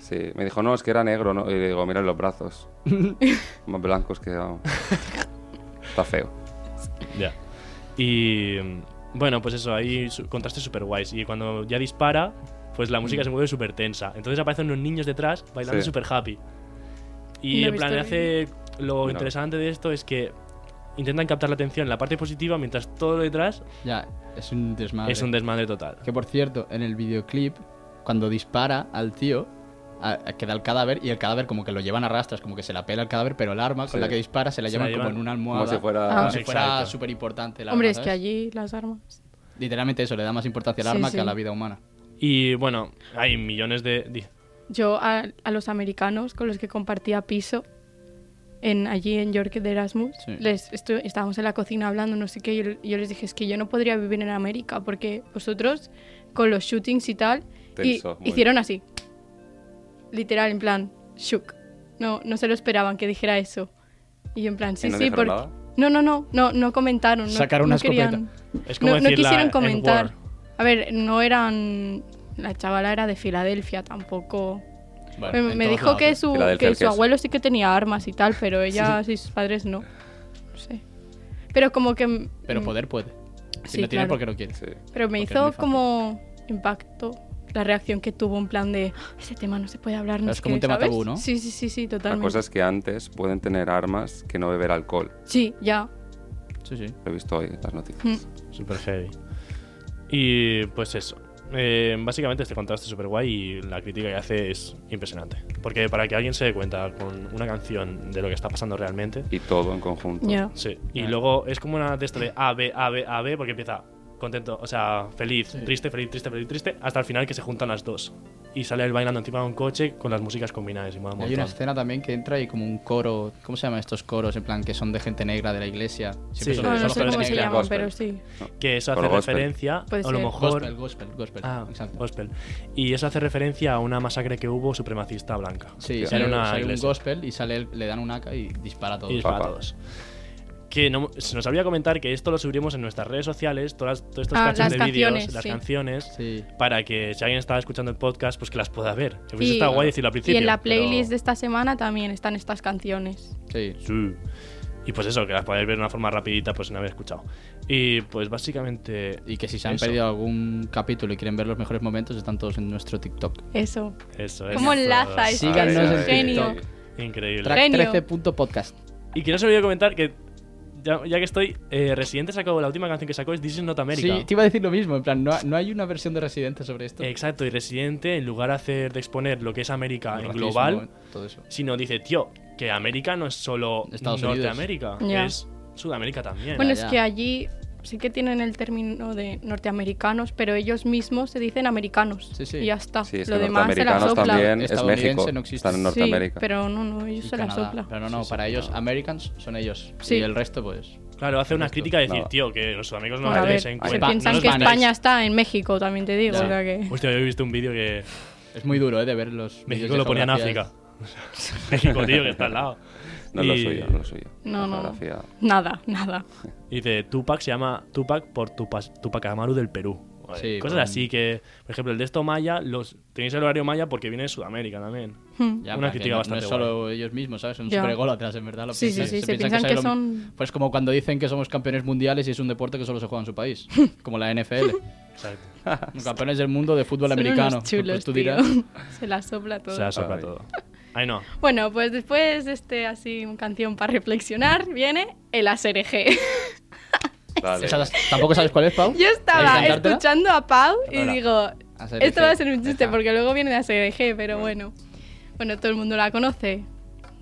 Sí, me dijo, no, es que era negro, ¿no? Y le digo, mira los brazos. Más blancos que... vamos. Está feo. Ya. Y mm, bueno, pues eso, hay su- contrastes súper guays. Y cuando ya dispara, pues la música se mueve súper tensa. Entonces aparecen unos niños detrás bailando Sí. súper happy. Y No he en plan, visto el hace lo No. interesante de esto es que intentan captar la atención en la parte positiva, mientras todo lo detrás Ya, es un desmadre. es un desmadre total. Que por cierto, en el videoclip, cuando dispara al tío, a- a- queda el cadáver y el cadáver como que lo llevan a rastras, como que se la pela el cadáver, pero el arma Sí. con la que dispara se la Se llevan la como llevan. en una almohada. Como si fuera... Ah. Como si fuera Exacto. súper importante el arma. Hombre, es que ¿sabes? allí las armas. Literalmente eso, le da más importancia al Sí, arma sí. que a la vida humana. Y bueno, hay millones de... di- Yo a, a los americanos con los que compartía piso en, allí en York de Erasmus, Sí. les estu- estábamos en la cocina hablando, no sé qué, y yo, yo les dije, es que yo no podría vivir en América porque vosotros con los shootings y tal, y Tenso, muy. hicieron así. Literal, en plan, shook. No, no se lo esperaban que dijera eso. Y yo en plan, sí, no sí, dijeron porque... nada? No, no, no, no, no comentaron. No, Sacaron una no querían- Es como No, no decir la quisieron N-word. comentar. A ver, no eran... La chavala era de Filadelfia, tampoco... Bueno, Pues Me, en me todos dijo lados, que eh. su, Filadelfia, que el su queso. abuelo sí que tenía armas y tal, pero ella y sus padres no. No sé. Pero como que... m- Pero m- poder puede. Si Sí, no tiene, claro. porque no quiere. Sí. Pero me porque es muy hizo fácil. como impacto la reacción que tuvo en plan de "Ah, ese tema no se puede hablar no Es sé como qué", un tema ¿sabes? tabú, ¿no? Sí, sí, sí, sí, La totalmente. cosa es que antes pueden tener armas que no beber alcohol. Sí, ya. Sí, sí. Lo he visto hoy en las noticias. Mm. Super heavy. Y pues eso. Eh, básicamente este contraste es súper guay y la crítica que hace es impresionante. Porque para que alguien se dé cuenta con una canción de lo que está pasando realmente. Y todo en conjunto. Ya. Sí. Y Ah. luego es como una de esto de A, B, A, B, A, B, porque empieza contento, o sea, feliz, triste, feliz, triste, feliz, triste, hasta el final que se juntan las dos. Y sale él bailando encima de un coche con las músicas combinadas y mola un Hay una montón. escena también que entra y como un coro. ¿Cómo se llaman estos coros? En plan, que son de gente negra de la iglesia. Sí. Siempre son, No, no son solo los sé coros cómo se negros. llaman, gospel. pero sí. Que eso hace Coro gospel. referencia, Puede a lo ser. mejor... Gospel, gospel, gospel. Ah, Exacto. gospel. Y eso hace referencia a una masacre que hubo supremacista blanca. Sí, En sale, una sale un iglesia. gospel y sale, el- le dan un AK y dispara todo. Y dispara a Papá. todos. Que no- se nos había comentar que esto lo subiremos en nuestras redes sociales, todas, todos estos Ah, cachos las de vídeos, canciones, las sí. canciones, Sí. para que si alguien estaba escuchando el podcast, pues que las pueda ver. Que Y- hubiese estado guay decirlo al Y principio. en la pero- playlist de esta semana también están estas canciones. Sí. Sí. Y pues eso, que las podáis ver de una forma rapidita, pues sin haber escuchado. Y pues básicamente Y que si se han Eso. perdido algún capítulo y quieren ver los mejores momentos, están todos en nuestro TikTok. Eso. eso es. ¿Cómo todo. enlaza eso? Síganos Es un en genio. TikTok. Increíble. Track Genio. 13.podcast. Y que no se me olvide comentar que, ya, ya que estoy, eh, Residente sacó, la última canción que sacó es This is Not America. Sí, te iba a decir lo mismo. En plan, no, ha- no hay una versión de Residente sobre esto. Exacto, y Residente, en lugar de hacer de exponer lo que es América El en racismo, eh. global, Todo eso. sino dice, tío, que América no es solo Estados Unidos. Norteamérica, Ya. es Sudamérica también. Bueno, es ya. que allí sí que tienen el término de norteamericanos, pero ellos mismos se dicen americanos. Sí, sí. Y ya está. Sí, es Lo que demás se la norteamericanos soplan. también es Estadounidense México. no existe. Están en Sí, Norteamérica. Sí, pero no, no, ellos Y se la Canadá. soplan. Pero no, no, Sí, para sí, ellos, no. Americans son ellos. Sí. Y el resto, pues. claro, hace una Esto, crítica de decir, nada. tío, que los amigos no Bueno, a nos tenéis ver, se en Ahí cuenta. va. piensan no nos que veáis. España está en México, también te digo. Ya. O sea que... Hostia, yo he visto un vídeo que Es muy duro, ¿eh? De ver los. vídeos México de lo ponía en geografía. África. México, tío, que está al lado. No Y- es lo suyo, no es lo suyo. No, La no. geografía- Nada, nada. Y de Tupac se llama Tupac por Tupac, Tupac Amaru del Perú. Joder, Sí, Cosas por- así que, por ejemplo, el de esto maya, los, tenéis el horario maya porque viene de Sudamérica también. Hmm. Ya, Una pero que crítica no- bastante No es solo ellos mismos, ¿sabes? Son Ya. súper ególatras, en verdad. Lo Sí, sí, piensan. sí, se piensan que es lo- son- Pues como cuando dicen que somos campeones mundiales y es un deporte que solo se juega en su país. como la NFL. Exacto. campeones del mundo de fútbol Son americano. unos chulos, pues tú tío. dirás. Se la sopla todo. Se la sopla Ay. todo. Ay, no. Bueno, pues después de este así un canción para reflexionar viene el ASRG. Vale. Esa- ¿Tampoco sabes cuál es, Pau? Yo estaba ¿Quieres cantártela? escuchando a Pau y Perdona. digo, ASRG, esto va a ser un chiste esa. porque luego viene de ASRG, pero bueno. Bueno, todo el mundo la conoce,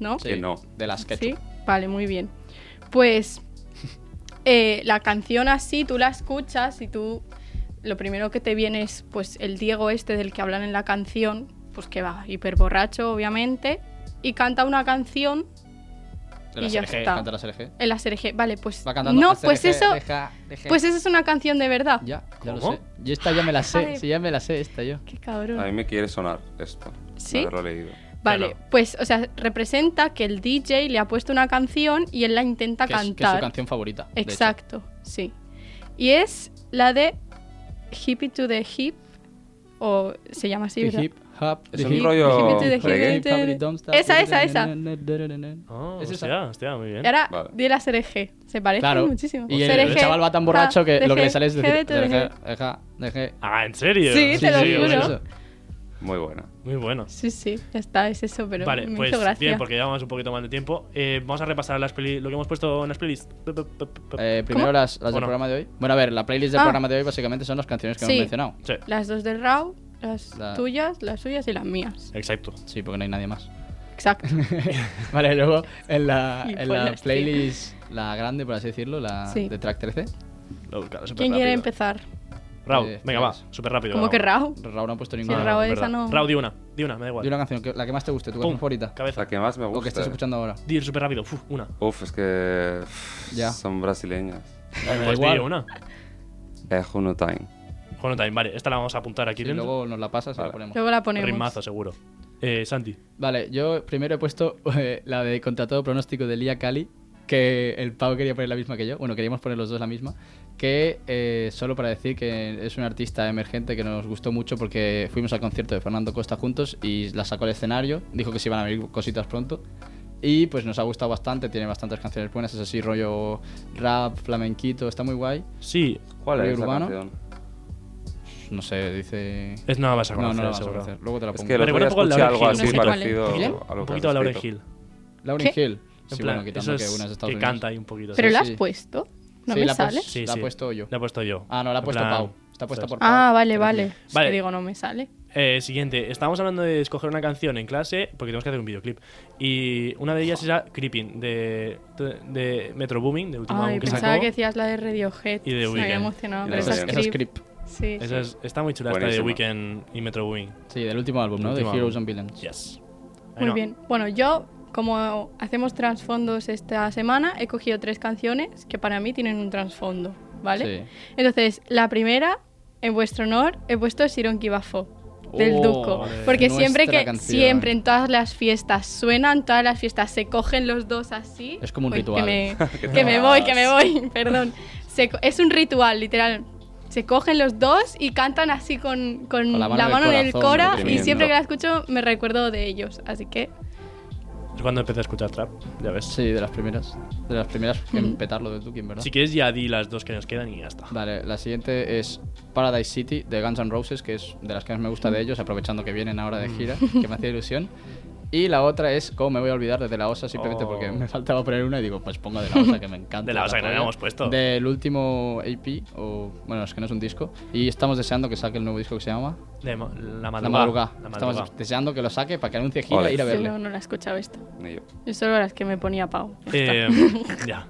¿no? Sí, Que no. De las que ¿Sí? Vale, muy bien. Pues eh, la canción así, tú la escuchas y tú lo primero que te viene es pues el Diego este del que hablan en la canción, pues que va hiper borracho, obviamente, y canta una canción, De Y las ya LG, está. canta las LG. el ASRG. Vale, pues Va cantando. no, "Haz pues LG, eso, deja, deja". pues eso es una canción de verdad. Ya, ya lo ¿Cómo? sé. Yo esta ya me la sé. Ay. Sí, ya me la sé, esta yo. Qué A mí cabrón. me quiere sonar esto. de ¿Sí? Haberlo leído. Vale, Claro. pues o sea, representa que el DJ le ha puesto una canción y él la intenta Que es, que es su cantar. canción favorita. de hecho. Exacto, sí. Y es la de Hippie to the Hip, o se llama así, The ¿verdad? hip hop, Es the un hip, rollo Hippie to the reggae. Ah, hip. Eh, Esa, esa, esa. Oh, Es esa. hostia, hostia, muy bien. Y ahora Vale. di la Serege, se parece Claro. muchísimo. Ah, Y el, Serege, el chaval va tan borracho que ja, lo que le deje, sale es decir. jebe to the "Deje, hip". deja, deje". Ah, ¿en serio? Sí, te lo es juro. eso. Muy buena. Muy bueno. Sí, sí, ya está, es eso, pero Vale, me pues hizo gracia. bien, porque llevamos un poquito más de tiempo. Eh, vamos a repasar las peli lo que hemos puesto en las playlists. Pe, pe, pe, pe, pe. Eh, primero las, las del Bueno. programa de hoy. Bueno, a ver, la playlist del Ah. programa de hoy básicamente son las canciones que Sí. hemos mencionado. Sí, Las dos del Raw, las La- tuyas, las suyas y las mías. exacto. Sí, porque no hay nadie más. Exacto. vale, luego en la, Y en la ponlas, tío. playlist, la grande, por así decirlo, la Sí. de track 13. Lo he buscado súper ¿Quién quiere rápido. empezar? Raúl, Eh, venga, va, pues. súper rápido. ¿Cómo que Raw? Raúl no ha puesto Sí, ninguna. Raúl esa no- Raúl, di una, di una, me da igual. Di una canción, que- la que más te guste, tu Pum, canción favorita. Cabeza. La que más me gusta. O que estés escuchando ahora. Di súper rápido, uf, una. Uf, es que. pff, Ya. Son brasileñas. da Pues di igual. una. Es Juno Time. Bueno, también, vale, esta la vamos a apuntar aquí Y dentro. luego nos la pasas y la Vale. ponemos. Luego la ponemos. Ritmazo, seguro. Eh, Santi. Vale, yo primero he puesto eh, la de Contra todo pronóstico de Lía Cali, que el Pau quería poner la misma que yo. Bueno, queríamos poner los dos la misma. Que eh, solo para decir que es un artista emergente que nos gustó mucho porque fuimos al concierto de Fernando Costa juntos y la sacó al escenario. Dijo que se iban a venir cositas pronto. Y pues nos ha gustado bastante, tiene bastantes canciones buenas, es así rollo rap, flamenquito, está muy guay. Sí, ¿Cuál Río es la Urbano. canción? No sé, dice... es, no la vas a No, conocer, no la vas a seguro. conocer, luego te la Es pongo. que el otro día recuerda un poco a Lauryn Hill, no sé escuché algo así cuál es. parecido ¿Quién? a lo Un que poquito a has Laura escrito. Hill. Lauryn ¿Qué? Hill. En Sí, plan, bueno, eso quitando es que una es de Estados que Unidos. canta ahí un poquito. ¿Pero Sí, la la has sí. puesto? ¿No Sí, me la he sale? puesto- la he puesto yo. La he puesto yo. Ah, no, la ha En puesto plan, Pau. Está puesta por Pau. Ah, vale, vale. Pero- Es Vale. que digo, no me sale. Eh, siguiente, estábamos hablando de escoger una canción en clase porque tenemos que hacer un videoclip. Y una de ellas era Creeping de, de Metro Booming, de último Ay, álbum que pensaba sacó. que decías la de Radiohead. Y de Me Weeknd. había emocionado. Y pero de esa Esa es, es esa Weeknd. es creep. Creep. Sí, Esa es- está muy chula esta de Buenísima. Weekend y Metro Booming. Sí, del último álbum, ¿no? Del De último Heroes álbum. and Villains. Yes. Ay, muy no. bien. Bueno, yo, como hacemos trasfondos esta semana, he cogido tres canciones que para mí tienen un trasfondo, ¿vale? Sí. Entonces, la primera, en vuestro honor, he puesto Siron Kibafo. Del Oh, Duco, porque nuestra siempre que canción. siempre en todas las fiestas suenan, todas las fiestas se cogen los dos así. Es como un Uy, ritual. Que Que me, te que me vas. voy, que me voy, perdón. Se co- es un ritual, literal. Se cogen los dos y cantan así con, con Con la la mano mano, en el en el corazón, cora. Y oprimiendo. siempre que la escucho me recuerdo de ellos. Así que Es cuando empecé a escuchar trap, ya ves. Sí, de las primeras. De las primeras en petarlo de Duki, en ¿verdad? Si quieres ya di las dos que nos quedan y ya está. Vale, la siguiente es Paradise City de Guns N' Roses, que es de las que más me Mm. gusta de ellos, aprovechando que vienen ahora de gira, que me hacía ilusión. Y la otra es ¿Cómo me voy a olvidar de De La Osa? Simplemente Oh. porque me faltaba poner una y digo, pues pongo De La Osa, que me encanta. De La Osa, que no polla. habíamos puesto. Del último AP, o bueno, es que no es un disco. Y estamos deseando que saque el nuevo disco que se llama De ma- la madrugada. La Madrugada. La madrugada. Estamos deseando que lo saque para que anuncie gira Ole. e ir a yo no, verle. no la he escuchado esta. Ni yo. Yo solo las que me ponía Pau. Eh, ya.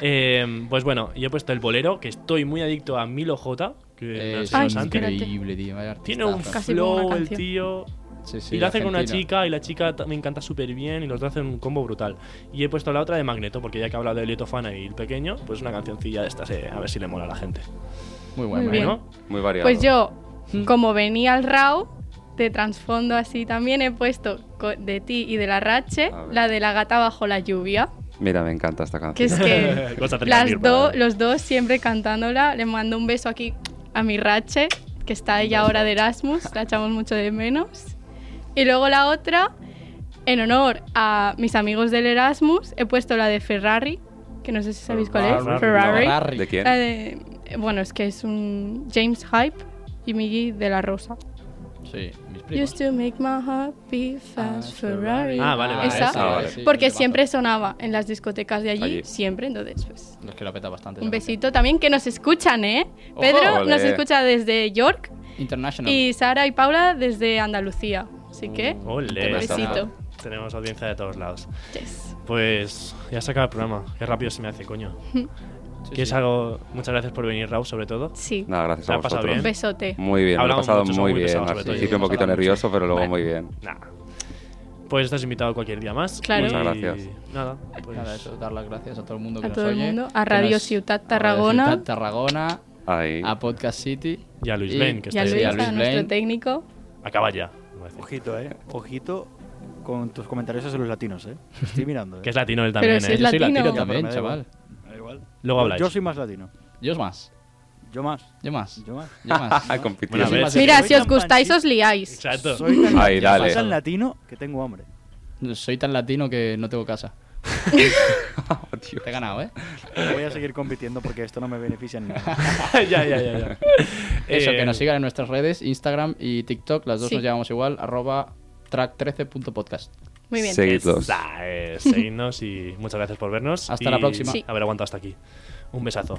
Eh, pues bueno, yo he puesto el bolero, que estoy muy adicto a Milo J. Que me ha Eh, Es enseñado sí, Santi. espérate. increíble, tío. vaya Tiene un artistazo. Casi como una flow el canción. tío. Sí, sí, y lo hace con una argentino. chica y la chica ta- me encanta súper bien y los dos hacen un combo brutal. Y he puesto la otra de Magneto, porque ya que he hablado de Lito Fana y el pequeño, pues una cancioncilla de estas, eh, a ver si le mola a la gente. Muy bueno. Muy bien. Bueno, Muy variado. Pues yo, como venía al RAW, de trasfondo así también he puesto co- de ti y de la Rache, A ver. la de la gata bajo la lluvia, Mira, me encanta esta que canción. es que Cosa cerca de las mi hermana. do- los dos siempre cantándola. Le mando un beso aquí a mi Rache, que está ella ahora de Erasmus, la echamos mucho de menos. Y luego la otra, en honor a mis amigos del Erasmus, he puesto la de Ferrari, que no sé si sabéis cuál es. Ferrari. Ferrari. Ferrari. ¿De quién? La de- bueno, es que es un James Hype y Miggy de la Rosa. Sí, mis primos. Used to make my heart beat fast, Ferrari. Ah, vale, vale, Esa, esa, vale. sí, porque sí, siempre sonaba en las discotecas de allí, Allí. siempre, entonces pues Los que lo peta bastante. un esa besito también que nos escuchan, ¿eh? Ojo. Pedro Ole. nos escucha desde York canción. International. y Sara y Paula desde Andalucía, así que Ole. un besito. Tenemos audiencia de todos lados. Yes. Pues ya se acaba el programa. Qué rápido se me hace, coño. Sí, ¿Quieres sí. algo? Muchas gracias por venir, Raúl, sobre todo. Sí, Nada, gracias ¿Te a has pasado vosotros. un bien? besote. Muy bien, me lo he Hablamos pasado mucho, muy muy bien. pesados, Al sobre todo, principio un hemos poquito hablado mucho. nervioso, pero luego Vale. muy bien. Nah. Pues estás invitado cualquier día más. Claro. Muchas Y gracias. Nada, pues Nada, eso, dar las gracias a todo el mundo que A nos todo el oye, mundo, a que Radio nos- Ciutat a Radio Tarragona. Ciutat Tarragona, Ahí. a Podcast City. Y a Luis Y- Ben, que Y está a ahí. Luis, a a Luis nuestro Blaine. técnico. Acaba ya. iba a decir. Ojito, eh. Ojito con tus comentarios sobre los latinos, eh. Estoy mirando, eh. Que es latino él Pero también, si ¿eh? es Yo soy latino. latino Ya, también, pero me da chaval. Da igual. Luego habláis. Yo soy más latino. Yo es más. Yo más. Yo más. Yo más. Yo más. Ah, compitiendo. Bueno, a ver. Mira, Soy si os tan gustáis panchi- os liáis. Exacto. Soy tan, Ahí, dale. soy tan latino que tengo hambre. Soy tan latino que no tengo casa. Oh, Dios. Te he ganado, ¿eh? Voy a seguir compitiendo porque esto no me beneficia en nada. ya, ya, ya. ya. Eso, Eh, que nos sigan en nuestras redes, Instagram y TikTok. Las dos Sí. nos llamamos igual, arroba track13.podcast. Muy bien. Seguidlos. Esa, eh, seguidnos y muchas gracias por vernos. Hasta Y la próxima. Sí. A ver, aguanto hasta aquí. Un besazo.